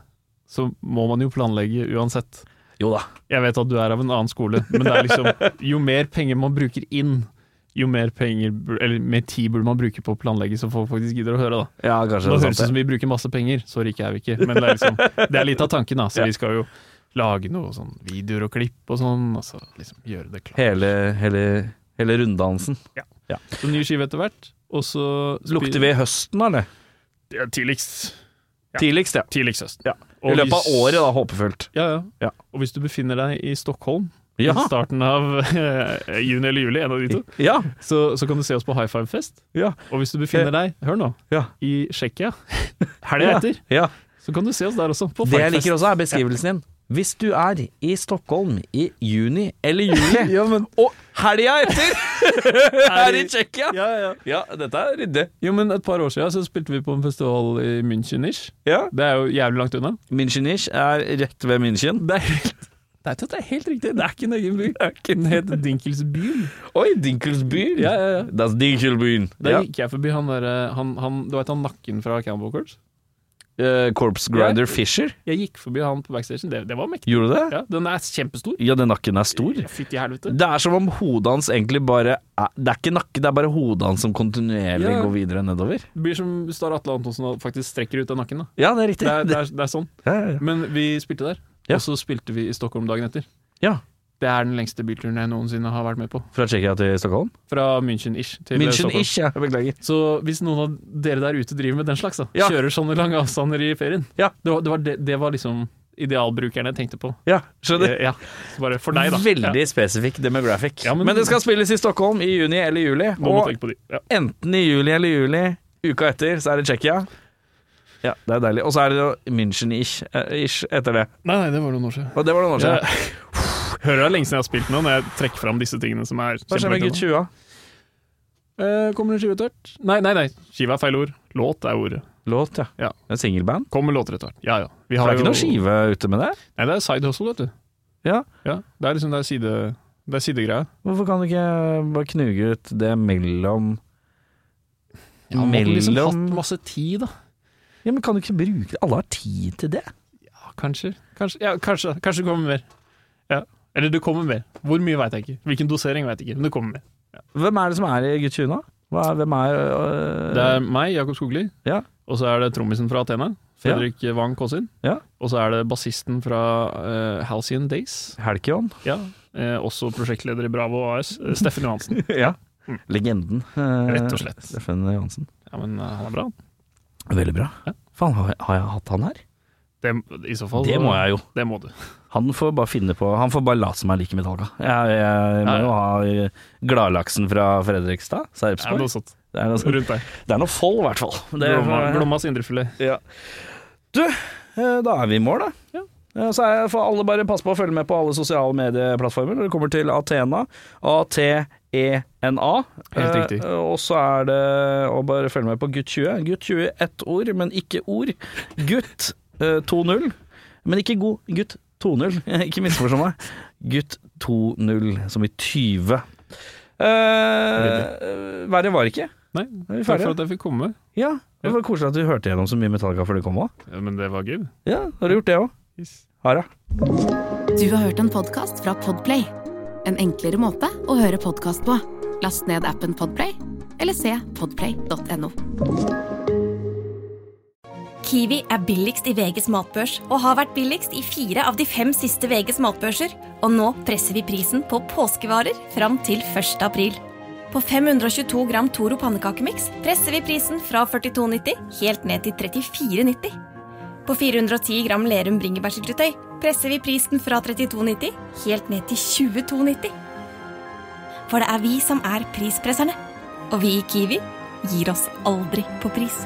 Speaker 4: så må man jo planlegge uansett.
Speaker 3: Jo da.
Speaker 4: Jeg vet at du er av en annen skole, men det er liksom Jo mer penger man bruker inn, jo mer penger bur- Eller mer tid burde man bruke på å planlegge så folk faktisk gidder å høre, da.
Speaker 3: Ja, kanskje
Speaker 4: Nå høres
Speaker 3: det er
Speaker 4: det ut
Speaker 3: sant.
Speaker 4: som
Speaker 3: det.
Speaker 4: vi bruker masse penger, så rike er vi ikke. Men det er, liksom, det er litt av tanken, da. Så vi skal jo lage noe sånn videoer og klipp og sånn, og så liksom gjøre det klart.
Speaker 3: Hele, hele, hele runddansen.
Speaker 4: Så ny skive etter hvert, og så
Speaker 3: Lukter vi høsten, eller?
Speaker 4: Ja, tidligst. Ja.
Speaker 3: Tidligst, ja.
Speaker 4: Tidligst høsten.
Speaker 3: Ja.
Speaker 4: Og
Speaker 3: I løpet av
Speaker 4: hvis-
Speaker 3: året, da, håpefullt.
Speaker 4: Ja, ja,
Speaker 3: Ja.
Speaker 4: Og hvis du befinner deg i Stockholm
Speaker 3: Ja.
Speaker 4: i starten av eh, juni eller juli, en av de to,
Speaker 3: Ja.
Speaker 4: så, så kan du se oss på High Five Fest.
Speaker 3: Ja.
Speaker 4: Og hvis du befinner deg, hør nå,
Speaker 3: Ja.
Speaker 4: i Tsjekkia helga etter,
Speaker 3: Ja.
Speaker 4: så kan du se oss der også, på
Speaker 3: Det jeg
Speaker 4: Firefest.
Speaker 3: liker også, er beskrivelsen din. Hvis du er i Stockholm i juni eller juli, og helga etter er i Tsjekkia
Speaker 4: Ja, ja.
Speaker 3: Ja, dette er ryddig.
Speaker 4: Jo, men et par år siden så spilte vi på en festival i München-ish.
Speaker 3: Ja.
Speaker 4: Det er jo jævlig langt unna.
Speaker 3: Münchenish er rett ved München.
Speaker 4: Det er helt, det er, det er helt riktig, det er ikke en egen by. Den heter Dinkelsbyen.
Speaker 3: Oi, Dinkelsbyen!
Speaker 4: Ja, ja, ja.
Speaker 3: Das Dinkelbyen.
Speaker 4: Der
Speaker 3: Ja.
Speaker 4: gikk jeg forbi han derre han, han, Du veit han nakken fra Campbell Courts?
Speaker 3: Eh, Corpse Grinder Fisher,
Speaker 4: Jeg gikk forbi han på backstagen, det, det var mektig.
Speaker 3: gjorde du det?
Speaker 4: Ja, den er kjempestor.
Speaker 3: Ja, den nakken er stor.
Speaker 4: Fytti helvete.
Speaker 3: Det er som om hodet hans egentlig bare er, Det er ikke nakke, det er bare hodet hans som kontinuerlig
Speaker 4: Ja.
Speaker 3: går videre nedover.
Speaker 4: Det blir som Star Atle Antonsen og faktisk strekker ut av nakken. da
Speaker 3: Ja, det er riktig.
Speaker 4: Det er, det er, det er sånn.
Speaker 3: Ja, ja, ja.
Speaker 4: Men vi spilte der,
Speaker 8: Ja.
Speaker 4: og så spilte vi i Stockholm dagen etter.
Speaker 8: Ja.
Speaker 4: Det er den lengste bilturen jeg noensinne har vært med på.
Speaker 8: Fra Tsjekkia til Stockholm?
Speaker 4: Fra München-ish til Stockholm.
Speaker 8: München-ish, ja. Beklager.
Speaker 4: Så hvis noen av dere der ute driver med den slags, da,
Speaker 8: Ja.
Speaker 4: kjører sånne lange avstander i ferien
Speaker 8: Ja.
Speaker 4: det, var, det, var det, det var liksom idealbrukeren jeg tenkte på.
Speaker 8: Ja, skjønner.
Speaker 4: Eh, Ja, bare for deg, da.
Speaker 8: Veldig
Speaker 4: Ja.
Speaker 8: spesifikk demographic.
Speaker 4: Ja, men-
Speaker 8: men, det skal spilles i Stockholm i juni eller juli.
Speaker 4: Må man
Speaker 8: Og
Speaker 4: tenke på de. Ja.
Speaker 8: enten i juli eller juli, uka etter, så er det Tsjekkia. Ja, det er deilig. Og så er det jo München-ish eh, ish etter det.
Speaker 4: Nei, nei, det var noen år siden.
Speaker 8: Og det var noen år
Speaker 4: Ja.
Speaker 8: siden.
Speaker 4: Hører det er lenge siden jeg har spilt nå, når jeg trekker fram disse tingene som er
Speaker 8: Hva skjer med
Speaker 4: kjempevirriterende.
Speaker 8: gutt 20?
Speaker 4: Eh, kommer det en skive etter hvert? Nei, nei, nei. Skive er feil ord. Låt er ordet.
Speaker 8: Låt, ja.
Speaker 4: Ja.
Speaker 8: En singelband.
Speaker 4: Kommer låter etter hvert. Ja, ja. Vi
Speaker 8: Det
Speaker 4: har
Speaker 8: er ikke
Speaker 4: jo-
Speaker 8: noe skive ute med det.
Speaker 4: Nei, det er side hustle, vet du.
Speaker 8: Ja.
Speaker 4: Ja, det er liksom det er side... Det er sidegreia.
Speaker 8: Hvorfor kan du ikke bare knuge ut det mellom
Speaker 4: Ja, man har liksom
Speaker 8: Mellom-
Speaker 4: hatt masse tid, da.
Speaker 8: Ja, men kan du ikke bruke det? Alle har tid til det.
Speaker 4: Ja, kanskje. Kanskje, ja, kanskje. kanskje det kommer mer. Ja. Eller det kommer mer. Hvor mye veit jeg ikke. Hvilken dosering veit jeg ikke, men det kommer mer.
Speaker 8: Hvem er det som er i gutt 20 nå? Hva er, hvem er øh,
Speaker 4: Det er meg, Jakob Skogli,
Speaker 8: Ja.
Speaker 4: og så er det trommisen fra Athena, Fredrik Wang Kåsin.
Speaker 8: Ja.
Speaker 4: Og så er det bassisten fra eh, Halcyon Days,
Speaker 8: Halkion?
Speaker 4: ja. eh, også prosjektleder i Bravo AS, eh, Steffen Johansen.
Speaker 8: ja. Legenden. eh,
Speaker 4: Rett og slett.
Speaker 8: Steffen Johansen.
Speaker 4: Ja, men eh, han er bra.
Speaker 8: Veldig bra.
Speaker 4: Ja.
Speaker 8: Faen, har jeg, har jeg hatt han her?
Speaker 4: Det, I så fall
Speaker 8: Det må jeg jo.
Speaker 4: Det må du.
Speaker 8: Han får bare finne på Han får bare late som han liker Metallica. Jeg, jeg må
Speaker 4: Ja, ja.
Speaker 8: jo ha eh, gladlaksen fra Fredrikstad, sa
Speaker 4: Det er
Speaker 8: Sarpsborg.
Speaker 4: noe sånt.
Speaker 8: Det er noe sånt.
Speaker 4: Rundt der.
Speaker 8: Det er noe fold, i hvert fall. Det,
Speaker 4: Glomma, Glommas indrefilet.
Speaker 8: ja. Du, eh, da er vi i mål, da. Eh, Så er- får alle bare passe på å følge med på alle sosiale medieplattformer når det kommer til Athena. A-T-E-N-A. Eh,
Speaker 4: Helt riktig.
Speaker 8: eh, Og så er det å bare følge med på Gutt 20. Gutt 20 ett ord, men ikke ord. Gutt eh, 2-0, men ikke god. Gutt 2-0. Ikke misforstå meg. Gutt 2-0, som i 20. Uh, verre var det ikke.
Speaker 4: Nei,
Speaker 8: Er vi
Speaker 4: takk
Speaker 8: ferdige?
Speaker 4: for at jeg fikk komme.
Speaker 8: Ja, det var koselig at du hørte gjennom så mye Metallica før du kom òg.
Speaker 4: Ja, men det var gøy.
Speaker 8: Ja, har du gjort det òg? Hara.
Speaker 3: Du har hørt en podkast fra Podplay. En enklere måte å høre podkast på. Last ned appen Podplay, eller se podplay.no.
Speaker 2: Kiwi er billigst i VGs matbørs, og har vært billigst i fire av de fem siste VGs matbørser. Og nå presser vi prisen på påskevarer fram til 1. april. På 522 gram Toro pannekakemiks presser vi prisen fra 42,90 helt ned til 34,90. På 410 gram Lerum bringebærsyltetøy presser vi prisen fra 32,90 helt ned til 22,90. For det er vi som er prispresserne. Og vi i Kiwi gir oss aldri på pris.